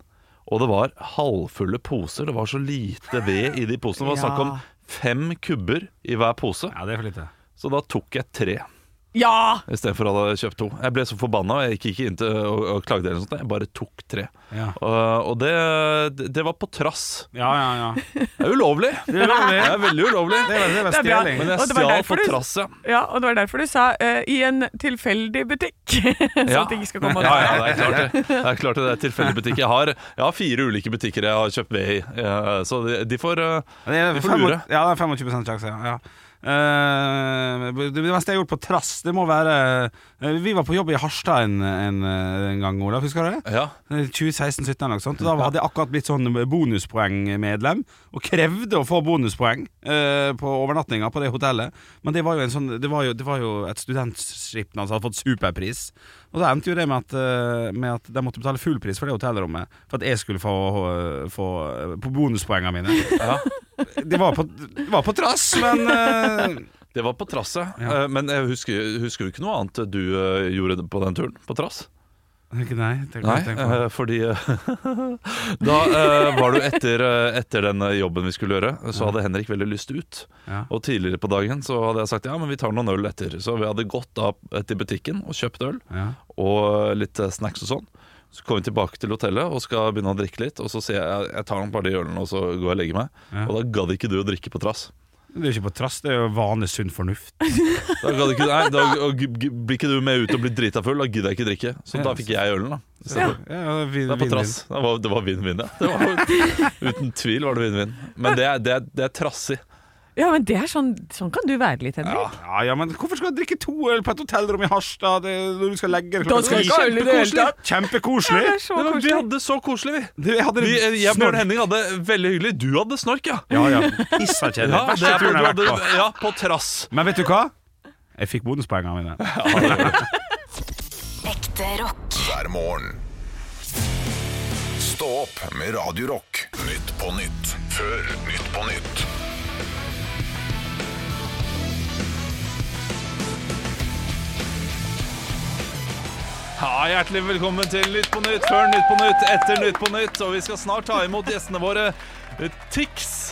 Speaker 2: og det var halvfulle poser. Det var så lite ved i de posene. Det var snakk om
Speaker 3: Ja.
Speaker 2: fem kubber i hver pose.
Speaker 4: Ja, det er for lite.
Speaker 2: Så da tok jeg tre
Speaker 3: Ja!
Speaker 2: istedenfor å ha kjøpt to. Jeg ble så forbanna, og jeg gikk ikke inn til og, og klagde eller noe sånt. Jeg bare tok tre.
Speaker 4: Ja.
Speaker 2: Og- og det, det var på trass.
Speaker 4: Ja, ja, ja.
Speaker 2: Det er ulovlig.
Speaker 4: Det er
Speaker 2: Det
Speaker 4: ulovlig.
Speaker 2: er veldig ulovlig.
Speaker 4: Det er, det er
Speaker 3: Det er bra.
Speaker 4: stjeling.
Speaker 2: Men jeg
Speaker 3: Og det var
Speaker 2: stjal
Speaker 3: derfor
Speaker 2: på
Speaker 3: du-
Speaker 2: trass, ja.
Speaker 3: Ja, og det var derfor du sa eh, 'i en tilfeldig butikk', så
Speaker 2: Ja.
Speaker 3: at ting skal komme og
Speaker 2: Ja,
Speaker 3: dra.
Speaker 2: ja, det er klart det. Det er klart det, det er tilfeldig butikk. Jeg har, jeg har fire ulike butikker jeg har kjøpt ved i, eh, så de, de får eh,
Speaker 4: Ja, Det er
Speaker 2: Vi får lure.
Speaker 4: 25 Ja, det er 25 sjanse. Ja. Eh, det meste jeg har gjort på trass, det må være eh, Vi var på jobb i Harstad en, en, en gang, Olav. Husker du det?
Speaker 2: Ja.
Speaker 4: 2016-2017 eller noe sånt. Og Da hadde jeg akkurat blitt sånn bonuspoengmedlem, og krevde å få bonuspoeng eh, på overnattinga på det hotellet. Men det var jo, en sånn, det var jo, det var jo et studentskipnad som hadde fått superpris. Og da endte jo det med at, eh, med at de måtte betale full pris for det hotellrommet for at jeg skulle få, få eh, på bonuspoengene mine. Det var på, det var på trass, men eh,
Speaker 2: Det var på trass, ja.
Speaker 4: Ja.
Speaker 2: Eh, Men jeg husker, husker du ikke noe annet du eh, gjorde på den turen? På trass?
Speaker 4: ikke Nei, tenk,
Speaker 2: Nei,
Speaker 4: tenk på det.
Speaker 2: eh, fordi eh, Da eh, var du etter, eh, etter den eh, jobben vi skulle gjøre, så hadde Henrik veldig lyst ut.
Speaker 4: Ja.
Speaker 2: Og tidligere på dagen så hadde jeg sagt ja, men vi tar noen øl etter. Så vi hadde gått da til butikken og kjøpt øl
Speaker 4: Ja.
Speaker 2: og litt eh, snacks og sånn. Så kommer vi tilbake til hotellet og skal begynne å drikke litt. Og så sier jeg jeg tar noen par de ølene og så går jeg og legger meg.
Speaker 4: Ja.
Speaker 2: Og da gadd ikke du å drikke på trass.
Speaker 4: Det er jo ikke på trass, det er jo vanlig sunn fornuft.
Speaker 2: Da, gadd ikke, nei, da og g- g- blir ikke du med ut og blir drita full. Da gidder jeg ikke drikke. Så da fikk jeg ølen, da.
Speaker 4: Ja. Ja,
Speaker 2: Det er
Speaker 4: vin-
Speaker 2: på
Speaker 4: vin-
Speaker 2: trass. Det var, det var vinn-vinn, ja. Det var, uten tvil var det vinn-vinn. Men det er, det, er, det er trassig.
Speaker 3: Ja, men det er sånn, sånn kan du være litt, Henrik.
Speaker 4: vin. Ja, ja, men hvorfor skal du drikke to øl på et hotellrom i Harstad det, når du skal legge deg
Speaker 3: Da skal du ikke ha øl i det hele tatt.
Speaker 4: Kjempekoselig!
Speaker 3: Det er så
Speaker 2: Det var, vi
Speaker 3: koselig.
Speaker 2: hadde det så koselig, vi.
Speaker 4: Du, eh, Jeg hadde
Speaker 2: vi eh,
Speaker 4: en
Speaker 2: jeg, Bjørn
Speaker 4: snork.
Speaker 2: Henning hadde det veldig hyggelig. Du hadde snork, ja.
Speaker 4: Ja, ja. Pissa kjedelig.
Speaker 2: Ja, det
Speaker 4: Verste
Speaker 2: er,
Speaker 4: turen
Speaker 2: du
Speaker 4: jeg har
Speaker 2: hadde,
Speaker 4: vært på.
Speaker 2: ja på trass.
Speaker 4: Men vet du hva? Jeg fikk bonuspoengene mine.
Speaker 6: Ekte rock.
Speaker 7: hver morgen. Stå opp med Radio Rock. Nytt på nytt. Før Nytt på nytt.
Speaker 2: Ja, Hjertelig velkommen til Nytt på Nytt før Nytt på Nytt etter Nytt på Nytt. Og vi skal snart ta imot gjestene våre Tix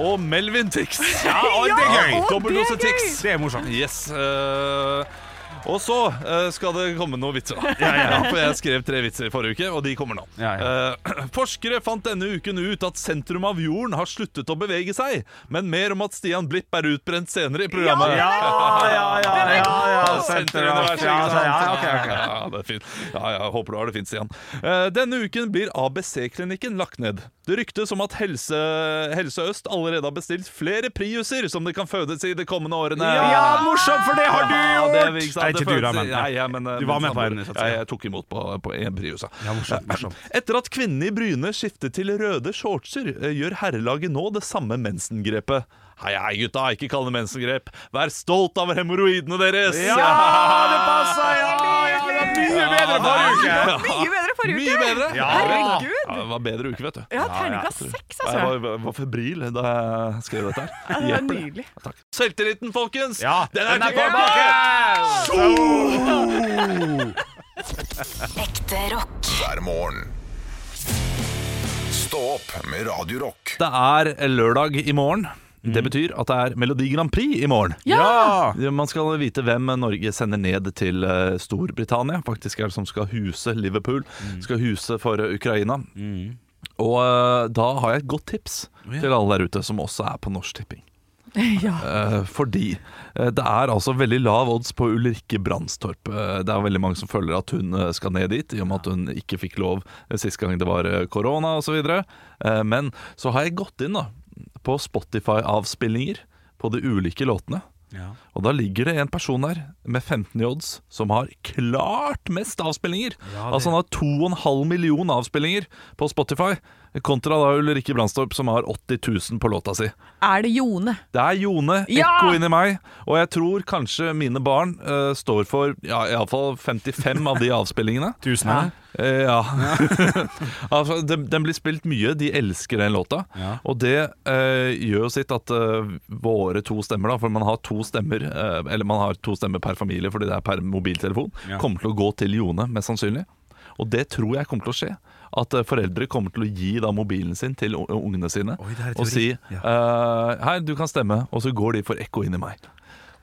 Speaker 2: og Melvin Tix. Ja,
Speaker 4: og det er gøy.
Speaker 2: Dobbeldose
Speaker 3: det er gøy.
Speaker 2: Tix.
Speaker 4: Det er morsomt.
Speaker 2: Yes. eh, og så eh, skal det komme noen vitser. da. Ja, for jeg skrev tre vitser i forrige uke, og de kommer nå.
Speaker 4: Ja,
Speaker 2: Eh, forskere fant denne uken ut at sentrum av jorden har sluttet å bevege seg. Men mer om at Stian Blipp er utbrent senere i programmet.
Speaker 4: Ja, ja, ja, ja, ja. Senter, ja,
Speaker 2: Senteruniverset,
Speaker 4: ja,
Speaker 2: ikke sant?
Speaker 4: ja, ok, ok.
Speaker 2: Ja, det er fint. Ja, ja, håper du har det fint, Stian. Eh, Denne uken blir ABC-klinikken lagt ned. Det ryktes om at Helse, Helse Øst allerede har bestilt flere priuser som det kan fødes i de kommende årene.
Speaker 4: Ja, morsomt, for det har du
Speaker 2: Ja,
Speaker 4: gjort!
Speaker 2: det er ikke sant, det
Speaker 4: Nei, ikke du, da,
Speaker 2: føles-
Speaker 4: men-
Speaker 2: Nei, jeg, men, eh,
Speaker 4: Du var
Speaker 2: men
Speaker 4: med på
Speaker 2: sammen-
Speaker 4: en, satser
Speaker 2: Ja,
Speaker 4: jeg.
Speaker 2: jeg tok imot på, på en Prius. ja.
Speaker 4: Ja, morsomt, morsomt.
Speaker 2: Etter at kvinnen i Bryne skiftet til røde shortser, eh, gjør herrelaget nå det samme mensengrepet. Hei, hei, gutta, ikke kall det mensengrep. Vær stolt av hemoroidene deres!
Speaker 4: Ja, det passa! Ja, ja, det var mye bedre forrige uke!
Speaker 3: Mye bedre forrige uke!
Speaker 2: Mye bedre!
Speaker 4: Ja.
Speaker 3: Herregud.
Speaker 2: Ja, det var bedre uke, vet du.
Speaker 3: Ja, terningkast seks,
Speaker 2: Jeg
Speaker 3: altså.
Speaker 2: var, var- var febril da jeg skrev dette her.
Speaker 3: Det var
Speaker 2: Hjelper det?
Speaker 3: nydelig.
Speaker 2: Takk. Selvtilliten, folkens!
Speaker 4: Ja,
Speaker 2: Den er tilbake!
Speaker 6: Ekte rock.
Speaker 7: Hver morgen. Stå opp med Radio Rock.
Speaker 2: Det er lørdag i morgen. Det betyr at det er Melodi Grand Prix i morgen.
Speaker 4: Ja!
Speaker 2: Man skal vite hvem Norge sender ned til eh, Storbritannia, faktisk er det som skal huse Liverpool, skal huse for eh, Ukraina. Og eh, da har jeg et godt tips til alle der ute som også er på Norsk Tipping.
Speaker 3: Ja.
Speaker 2: Eh, fordi eh, det er altså veldig lav odds på Ulrikke Brandstorp. Eh, det er veldig mange som føler at hun eh, skal ned dit, i og med at hun ikke fikk lov eh, sist gang det var eh, korona osv. Uh, men så har jeg gått inn da på Spotify-avspillinger på de ulike låtene.
Speaker 4: Ja.
Speaker 2: Og da ligger det en person der med 15 i odds som har klart mest avspillinger.
Speaker 4: Ja, det-
Speaker 2: Altså han har 2,5 million avspillinger på Spotify. Kontra da Ulrikke Brandstorp, som har 80 000 på låta si.
Speaker 3: Er det Jone?
Speaker 2: Det er Jone,
Speaker 3: Ja!
Speaker 2: ekko inni meg. Og jeg tror kanskje mine barn eh, står for ja, iallfall 55 av de avspillingene.
Speaker 4: Tusen her.
Speaker 2: Eh, ja. altså, den, den blir spilt mye, de elsker den låta.
Speaker 4: Ja.
Speaker 2: Og det eh, gjør jo sitt at eh, våre to stemmer, da, for man har to stemmer eh, Eller man har to stemmer per familie fordi det er per mobiltelefon,
Speaker 4: Ja.
Speaker 2: kommer til å gå til Jone, mest sannsynlig. Og det tror jeg kommer til å skje. At eh, foreldre kommer til å gi da mobilen sin til u- ungene sine
Speaker 4: Oi, det er
Speaker 2: og si
Speaker 4: teori. Ja.
Speaker 2: eh, Her, du kan stemme. Og så går de for ekko inn i meg.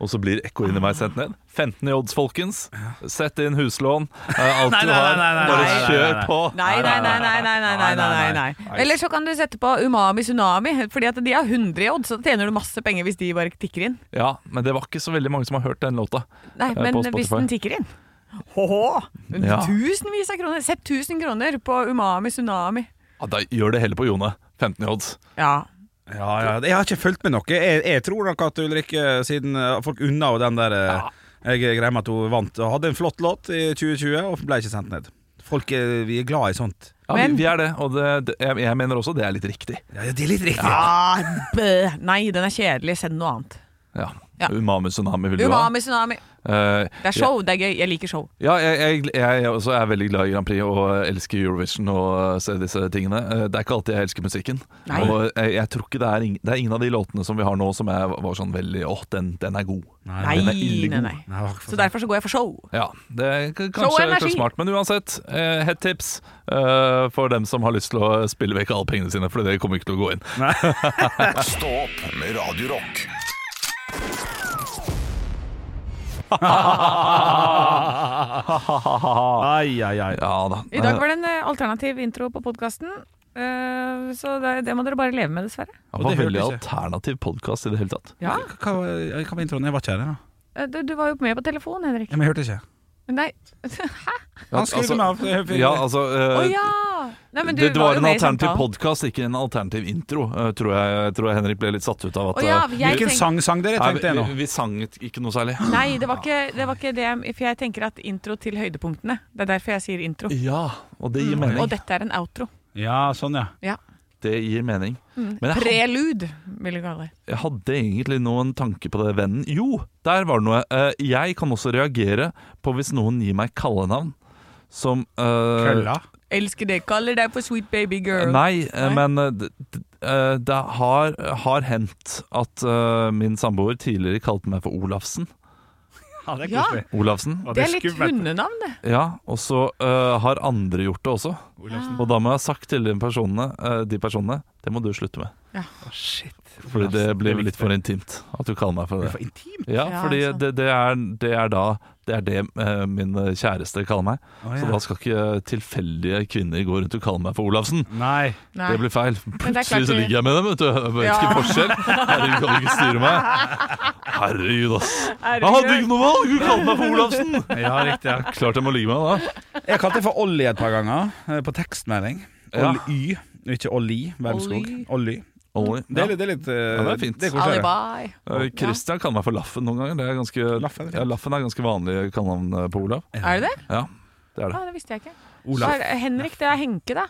Speaker 2: Og så blir ekko inn i meg sendt ned. 15 i odds, folkens. Sett inn huslån. eh, alt
Speaker 4: Nei,
Speaker 2: du
Speaker 4: nei,
Speaker 2: har.
Speaker 4: nei, nei, nei,
Speaker 2: Bare
Speaker 4: nei, nei,
Speaker 2: kjør
Speaker 4: nei.
Speaker 2: på.
Speaker 3: Nei, nei, nei, nei, nei, nei, nei, nei, nei, nei. Eller så kan du sette på Umami Tsunami, Fordi at de har 100 i odds, så tjener du masse penger hvis de bare tikker inn.
Speaker 2: Ja, Men det var ikke så veldig mange som har hørt den låta.
Speaker 3: Nei,
Speaker 2: Eh,
Speaker 3: men
Speaker 2: på Spotify.
Speaker 3: hvis den tikker inn. Håhå!
Speaker 2: Ja.
Speaker 3: Tusenvis av kroner. Sett 1000 kroner på Umami Tsunami.
Speaker 2: Ja, da gjør det heller på Jone. 15 i odds.
Speaker 3: Ja.
Speaker 4: Ja, ja, jeg har ikke fulgt med noe. Jeg, jeg tror nok at Ulrikke, siden eh, folk unna og den der eh, Jeg greier meg at hun vant. Og hadde en flott låt i 2020 og ble ikke sendt ned. Folk eh, vi er glad i sånt.
Speaker 2: Ja,
Speaker 3: Men-
Speaker 2: vi, vi er det, og det, det, jeg, jeg mener også det er litt riktig.
Speaker 4: Ja, det er litt riktig.
Speaker 3: Bø. Nei, den er kjedelig. Send noe annet.
Speaker 2: Ja.
Speaker 3: Ja.
Speaker 2: Umami Tsunami vil du ha.
Speaker 3: Umami Tsunami.
Speaker 2: Eh,
Speaker 3: Det er show. Det er gøy. Jeg liker show.
Speaker 2: Ja, jeg, jeg, jeg også er veldig glad i Grand Prix og elsker Eurovision og ser disse tingene. Eh, Det er ikke alltid jeg elsker musikken.
Speaker 3: Nei.
Speaker 2: Og jeg, jeg tror ikke det er, ing- det er ingen av de låtene som vi har nå som jeg var sånn veldig Åh, den, den er god.
Speaker 3: Nei,
Speaker 2: Den er ille
Speaker 3: nei,
Speaker 2: god.
Speaker 3: nei.
Speaker 4: Nei, jeg har ikke
Speaker 3: Så
Speaker 4: fått-
Speaker 3: derfor så går jeg for show.
Speaker 2: Ja, det er k-
Speaker 3: Show
Speaker 2: kanskje
Speaker 3: og
Speaker 2: ikke
Speaker 3: energi.
Speaker 2: så smart, men uansett. Eh, Hett tips eh, for dem som har lyst til å spille vekk alle pengene sine, for det kommer ikke til å gå inn.
Speaker 7: Stå opp med Radio Rock.
Speaker 4: Ai, ai, ai.
Speaker 2: Ja da.
Speaker 3: I dag var det en eh, alternativ intro på podkasten. så det, det må dere bare leve med, dessverre.
Speaker 2: Det var
Speaker 4: det hørte
Speaker 2: veldig
Speaker 4: jeg ikke.
Speaker 2: alternativ podkast i det hele tatt.
Speaker 3: Ja.
Speaker 4: Hva, hva, hva var introen? Jeg var ikke her. da.
Speaker 3: Eh, Du, du var jo med på telefon, Henrik.
Speaker 4: Ja, men jeg hørte ikke.
Speaker 3: Nei.
Speaker 4: Han skrur den av. Jeg
Speaker 2: Altså,
Speaker 4: fikk-
Speaker 2: Ja, altså eh,
Speaker 3: Å ja! Nei, men du
Speaker 2: det, det var
Speaker 3: jo
Speaker 2: en
Speaker 3: med i
Speaker 2: alternativ
Speaker 3: samtalen.
Speaker 2: podkast, ikke en alternativ intro. eh, tror jeg, jeg tror Henrik ble litt satt ut av at
Speaker 3: Å ja,
Speaker 2: eh,
Speaker 3: jeg
Speaker 4: Hvilken
Speaker 3: tenk-
Speaker 4: sang sang dere?
Speaker 2: nei,
Speaker 4: Tenkte jeg nå.
Speaker 2: vi, vi sang et- ikke noe særlig.
Speaker 3: Nei, det var, ikke, det var ikke det. jeg- For jeg tenker at intro til høydepunktene. Det er derfor jeg sier intro.
Speaker 2: Ja, og det gir
Speaker 4: Mm.
Speaker 3: Og
Speaker 2: mening.
Speaker 3: dette er en outro.
Speaker 4: Ja, sånn, ja.
Speaker 3: Ja.
Speaker 2: Det gir mening.
Speaker 3: Mm.
Speaker 2: Men jeg, had-
Speaker 3: Prelude, vil jeg kalle det.
Speaker 2: jeg hadde egentlig noen tanke på det, vennen. Jo, der var det noe. Eh, jeg kan også reagere på hvis noen gir meg kallenavn som eh,
Speaker 4: Kølla.
Speaker 3: Elsker det. Kaller deg for sweet baby girl.
Speaker 2: Nei, eh,
Speaker 3: Nei.
Speaker 2: men eh, d- d- eh, det har, har hendt at eh, min samboer tidligere kalte meg for Olafsen.
Speaker 4: Ja, det er
Speaker 3: Ja.
Speaker 4: koselig.
Speaker 2: Olafsen.
Speaker 4: Ja,
Speaker 3: Det er litt
Speaker 4: skummelt.
Speaker 3: hundenavn, det.
Speaker 2: Ja, og så øh, har andre gjort det også. Og da må jeg ha sagt til de personene, øh, de personene det må du slutte med.
Speaker 3: Ja.
Speaker 2: Fordi det blir litt for intimt at du kaller meg for
Speaker 4: Det
Speaker 2: det.
Speaker 4: er for intimt.
Speaker 2: Ja,
Speaker 3: Ja,
Speaker 2: fordi
Speaker 3: altså.
Speaker 2: det, det, er, det er da Det er det øh, min kjæreste kaller meg. Så
Speaker 4: Å, ja.
Speaker 2: da skal ikke tilfeldige kvinner gå rundt og kalle meg for Olafsen.
Speaker 4: Nei.
Speaker 3: Nei.
Speaker 2: Det blir feil.
Speaker 3: Men det er klart
Speaker 2: Plutselig så
Speaker 3: du-
Speaker 2: ligger jeg med dem, vet du. Jeg vet
Speaker 3: Ja.
Speaker 2: ikke forskjell. Herregud, kan du ikke styre meg? Herregud, ass. Jeg hadde ikke noe valg! Hun kalte meg for Olafsen!
Speaker 4: Ja, riktig. Ja.
Speaker 2: Klart jeg må ligge med henne da.
Speaker 4: Jeg kalte det for Olli et par ganger eh, på tekstmelding.
Speaker 2: Ja.
Speaker 4: Olly, ikke Olli Wermskog.
Speaker 3: Olli.
Speaker 4: Olli.
Speaker 2: Ollie.
Speaker 4: Det er litt, det er litt eh,
Speaker 2: Ja, det er fint.
Speaker 4: Det koseligere.
Speaker 3: Alibi.
Speaker 2: Eh, Christian kaller meg for Laffen noen ganger. Det er ganske,
Speaker 4: Laffen,
Speaker 2: ja, Laffen er ganske vanlig kallenavn eh, på Olav.
Speaker 3: Er det det?
Speaker 2: Ja, det er det.
Speaker 3: Ah, det visste jeg ikke.
Speaker 4: Olaf.
Speaker 3: Er det- Henrik, det er Henke, da.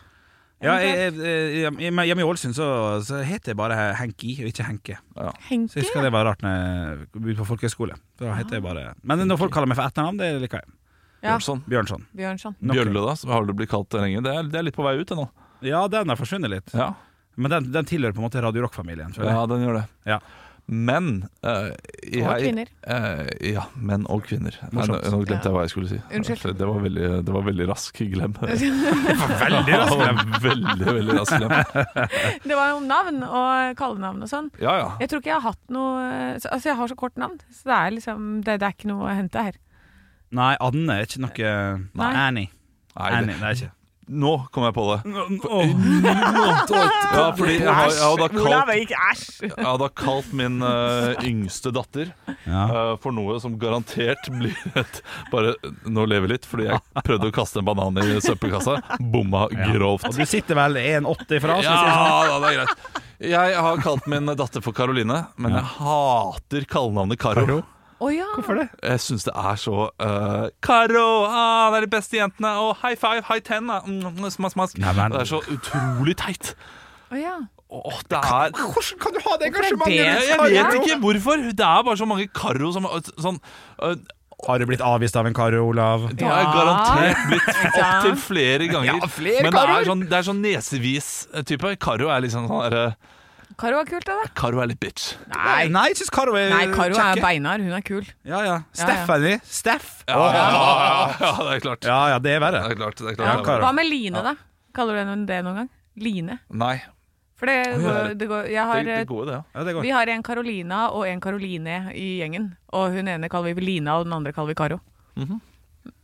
Speaker 4: Ja, jeg, jeg, jeg, hjemme- hjemme i Ålesund så, så heter jeg bare Henki og ikke Henke. Så jeg
Speaker 3: Henke?
Speaker 4: husker det var rart når jeg begynte på folkehøyskole. Da heter jeg bare Men når folk kaller meg for etternavn, det liker jeg.
Speaker 3: Ja,
Speaker 2: Bjørnson.
Speaker 4: Bjørnson.
Speaker 3: Bjørnson.
Speaker 4: Nok-
Speaker 2: Bjølle, da, som har det blitt kalt lenge. Det er, det er litt på vei ut ennå.
Speaker 4: Ja, den har forsvunnet litt.
Speaker 2: Ja.
Speaker 4: Men den, den tilhører på en måte Radio Rock-familien. føler jeg.
Speaker 2: ja, den gjør det.
Speaker 4: Ja.
Speaker 2: Men eh, jeg,
Speaker 3: Og kvinner.
Speaker 2: eh, ja, menn og kvinner. Nei, Nå,
Speaker 4: Morsomt.
Speaker 2: nå glemte jeg hva jeg skulle si.
Speaker 3: Unnskyld.
Speaker 2: Det var veldig, det var veldig rask glem.
Speaker 4: Veldig
Speaker 2: Det
Speaker 4: rask.
Speaker 2: var veldig, veldig rask glem.
Speaker 3: Det var jo om navn og kallenavn og sånn.
Speaker 2: Ja, ja.
Speaker 3: Jeg tror ikke jeg har hatt noe så- Altså, jeg har så kort navn, så det er liksom Det, det er ikke noe å hente her.
Speaker 4: Nei, Anne er ikke noe
Speaker 3: Nei.
Speaker 4: Annie.
Speaker 2: Nei,
Speaker 4: Annie,
Speaker 2: det,
Speaker 4: det er ikke
Speaker 2: nå kom jeg på det.
Speaker 4: Åh.
Speaker 2: Ja, fordi jeg har, jeg har da kalt,
Speaker 3: ikke æsj!
Speaker 2: jeg har da kalt min eh, yngste datter
Speaker 4: Ja.
Speaker 2: Eh, for noe som garantert blir et Bare nå lever litt, fordi jeg prøvde å kaste en banan i søppelkassa. Bomma
Speaker 4: Og
Speaker 2: grovt.
Speaker 4: du sitter vel 1,80 fra oss?
Speaker 2: Ja da, det er greit. Jeg har kalt min datter for Karoline, men jeg hater kallenavnet Karo.
Speaker 4: Karo.
Speaker 3: Å ja.
Speaker 4: Hvorfor det?
Speaker 2: Jeg syns det er så eh, Karo! Ah, det er de beste jentene! Og high five, high ten! da. Mm, smask, smask.
Speaker 4: Nei, men-
Speaker 2: Det er så utrolig teit.
Speaker 3: Å ja.
Speaker 2: Åh, det er
Speaker 4: Hvordan kan du ha det
Speaker 3: det-
Speaker 4: engasjementet?
Speaker 2: Jeg vet ikke hvorfor. Det er bare så mange Karo som sånn eh,
Speaker 4: Har du blitt avvist av en Karo, Olav?
Speaker 2: Det har jeg
Speaker 3: Ja.
Speaker 2: garantert blitt
Speaker 3: Ja.
Speaker 2: opptil flere ganger.
Speaker 4: Ja, flere
Speaker 2: Men det
Speaker 4: Karoer.
Speaker 2: er sånn, det er sånn nesevis-type. Karo er liksom sånn der, eh,
Speaker 3: Karo var kult, det da.
Speaker 2: Karo er litt bitch.
Speaker 4: Nei, nei jeg syns Karo er
Speaker 3: Nei, Karo er
Speaker 4: kjekke.
Speaker 3: beinhard. Hun er kul.
Speaker 4: Ja, ja. Stephanie. Steff. Ja.
Speaker 2: Ja, det er klart.
Speaker 4: ja, ja, det er verre.
Speaker 2: Det er klart, det er
Speaker 4: Ja,
Speaker 2: klart.
Speaker 4: Karo.
Speaker 3: Hva med Line, da? Kaller du henne det noen gang? Line.
Speaker 2: Nei,
Speaker 3: For det, går- det går Jeg
Speaker 2: det,
Speaker 3: har
Speaker 2: det
Speaker 3: eh,
Speaker 2: går jo det. ja.
Speaker 4: Ja, det går.
Speaker 3: Vi har en Carolina og en Caroline i gjengen. Og hun ene kaller vi Lina, og den andre kaller vi Karo.
Speaker 4: Mhm.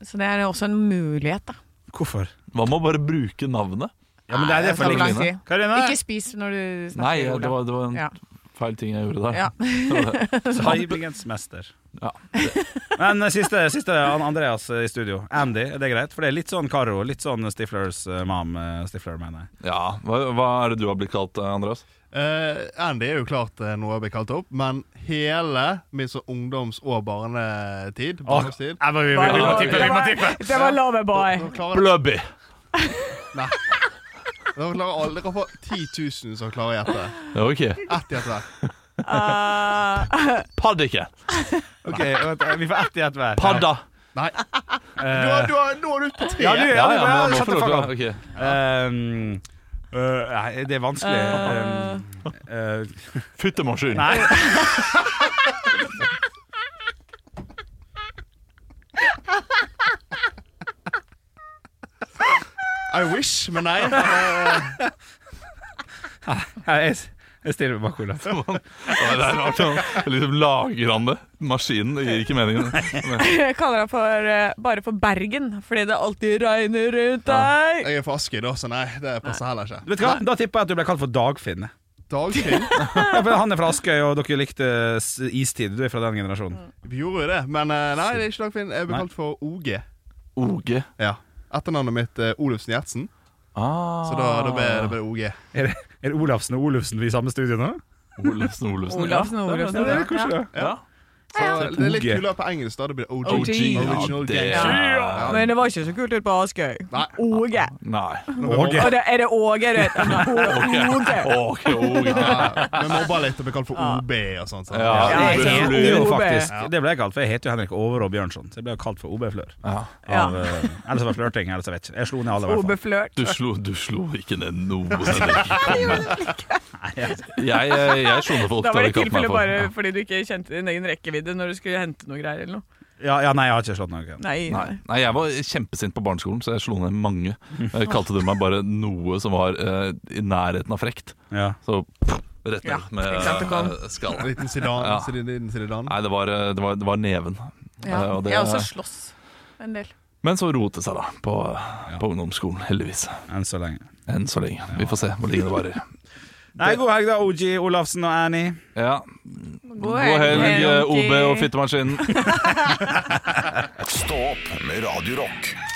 Speaker 3: Så det er også en mulighet, da.
Speaker 4: Hvorfor?
Speaker 2: Hva med å bare bruke navnet?
Speaker 4: Ja, men det er det for
Speaker 3: Nei, det tar
Speaker 4: lenge
Speaker 3: lang
Speaker 4: siden.
Speaker 3: tid.
Speaker 4: Karina?
Speaker 3: Ikke spis når du snakker.
Speaker 2: Nei,
Speaker 3: Ola.
Speaker 2: det var, det var en
Speaker 3: ja.
Speaker 2: feil ting jeg gjorde der.
Speaker 3: Ja.
Speaker 4: Saibergens mester.
Speaker 2: Ja.
Speaker 4: Men eh, siste, siste An- Andreas eh, i studio. Andy, er det greit? For det er litt sånn Karo. Litt sånn Stiflers eh, mam. eh, Stifler, mener jeg.
Speaker 2: ja. Hva, hva er det du har blitt kalt, eh, Andreas?
Speaker 5: Eh, Andy er jo klart eh, noe jeg blir kalt opp, men hele min sånn ungdoms- og barnetid, barndomstid
Speaker 2: vi må tippe,
Speaker 3: Det var- Det var loveboy.
Speaker 5: Nå klarer jeg
Speaker 2: Blubby!
Speaker 5: Nei. Nå klarer alle Dere får 10 000 som klarer å gjette.
Speaker 2: Ok.
Speaker 5: Ett gjett hver.
Speaker 3: Uh,
Speaker 2: Paddike.
Speaker 4: Ok, vent, eh, Vi får ett i ett hver.
Speaker 2: Padda.
Speaker 5: Nei.
Speaker 4: Eh,
Speaker 5: Du har- du har- Nå er du på tre.
Speaker 4: Ja, du, ja, du, ja,
Speaker 2: men man må få
Speaker 4: shut the
Speaker 2: lov
Speaker 4: fuck
Speaker 2: til å-
Speaker 4: up.
Speaker 2: ok.
Speaker 4: Um, øh, nei, det er vanskelig. Um, øh,
Speaker 2: Fyttemaskin.
Speaker 4: nei.
Speaker 5: I wish, men nei.
Speaker 4: Nei, jeg, jeg stiller meg bak Olav.
Speaker 2: Ja, det er rart. ja. Liksom lager han det. Maskinen det gir ikke meningen.
Speaker 3: jeg kaller deg for, eh, bare for Bergen, fordi det alltid regner rundt deg.
Speaker 5: Jeg er fra Askøy, da, så nei, det passer heller ikke.
Speaker 4: Vet du hva? Da tipper jeg at du ble kalt for Dagfinn.
Speaker 5: Dagfinn.
Speaker 4: Ja, for han er fra Askøy, og dere likte s- istid. Du er fra den generasjonen.
Speaker 5: Vi gjorde jo det, men eh, nei, det er ikke Dagfinn. Jeg blir
Speaker 4: Nei.
Speaker 5: kalt for OG.
Speaker 2: OG.
Speaker 5: Ja. Etternavnet mitt er Olufsen Gjertsen,
Speaker 2: Ah.
Speaker 5: så da, da ble da ble det OG.
Speaker 4: Er det, er det Olafsen og Olufsen i samme studio nå?
Speaker 2: Olufsen, Olufsen.
Speaker 3: Olafsen og
Speaker 4: Ja, det er
Speaker 3: Olafsen.
Speaker 4: koselig.
Speaker 2: Ja.
Speaker 5: Så det er litt
Speaker 4: OG.
Speaker 5: kulere på engelsk, da. Det blir OG.
Speaker 3: OG.
Speaker 5: Original
Speaker 2: Ja, det-
Speaker 5: Gangster.
Speaker 2: Ja.
Speaker 3: Men det var ikke så kult ut på Askøy.
Speaker 5: Nei.
Speaker 3: Åge.
Speaker 2: Nei.
Speaker 4: Åge.
Speaker 3: Og det er det Åge, det heter. Åge.
Speaker 2: Ok, OG.
Speaker 5: Ja, Vi mobber litt og blir kalt for OB og sånt. sant?
Speaker 2: Ja,
Speaker 4: Ja,
Speaker 3: jeg
Speaker 4: det
Speaker 3: heter
Speaker 4: ble jo
Speaker 3: OB.
Speaker 4: faktisk Det ble jeg kalt, for jeg heter jo Henrik Overå Bjørnson. Så jeg ble jo kalt for OB Flør.
Speaker 2: Ja.
Speaker 3: Ja.
Speaker 4: Av, eh, Ellers var det flørting, ellers jeg vet ikke. Jeg slo ned alle, i hvert fall.
Speaker 3: Obeflørt.
Speaker 2: Du slo, du slo ikke ned noen. Jeg, jeg, jeg slo ned folk.
Speaker 3: Da var det
Speaker 2: de kalte meg
Speaker 3: tilfelle
Speaker 2: for-
Speaker 3: bare fordi du ikke kjente din egen rekkevidde når du skulle hente noe greier eller noe.
Speaker 4: Ja, ja, nei, jeg har ikke slått noen.
Speaker 3: Nei.
Speaker 2: Nei. Nei, jeg var kjempesint på barneskolen, så jeg slo ned mange. Eh, kalte du meg bare noe som var eh, i nærheten av frekt.
Speaker 4: Ja.
Speaker 2: Så rett
Speaker 3: Ja,
Speaker 2: ned med
Speaker 3: ikke sant, det kom.
Speaker 2: eh, skallen.
Speaker 5: Liten Zidane.
Speaker 2: Ja.
Speaker 5: Zidane, Zidane.
Speaker 2: Nei, det var, eh, det var, det var neven.
Speaker 3: Ja.
Speaker 2: Eh, og det-
Speaker 3: Jeg har også slåss en del.
Speaker 2: Men så roet det seg, da, på, på ungdomsskolen. Heldigvis.
Speaker 4: Enn så lenge.
Speaker 2: Enn så lenge. Vi får se hvor lenge det varer.
Speaker 4: Nei, god helg da, OG Olafsen og Annie.
Speaker 2: Ja. God eh, helg, OB og fittemaskinen.
Speaker 7: Stå opp med Radio Rock.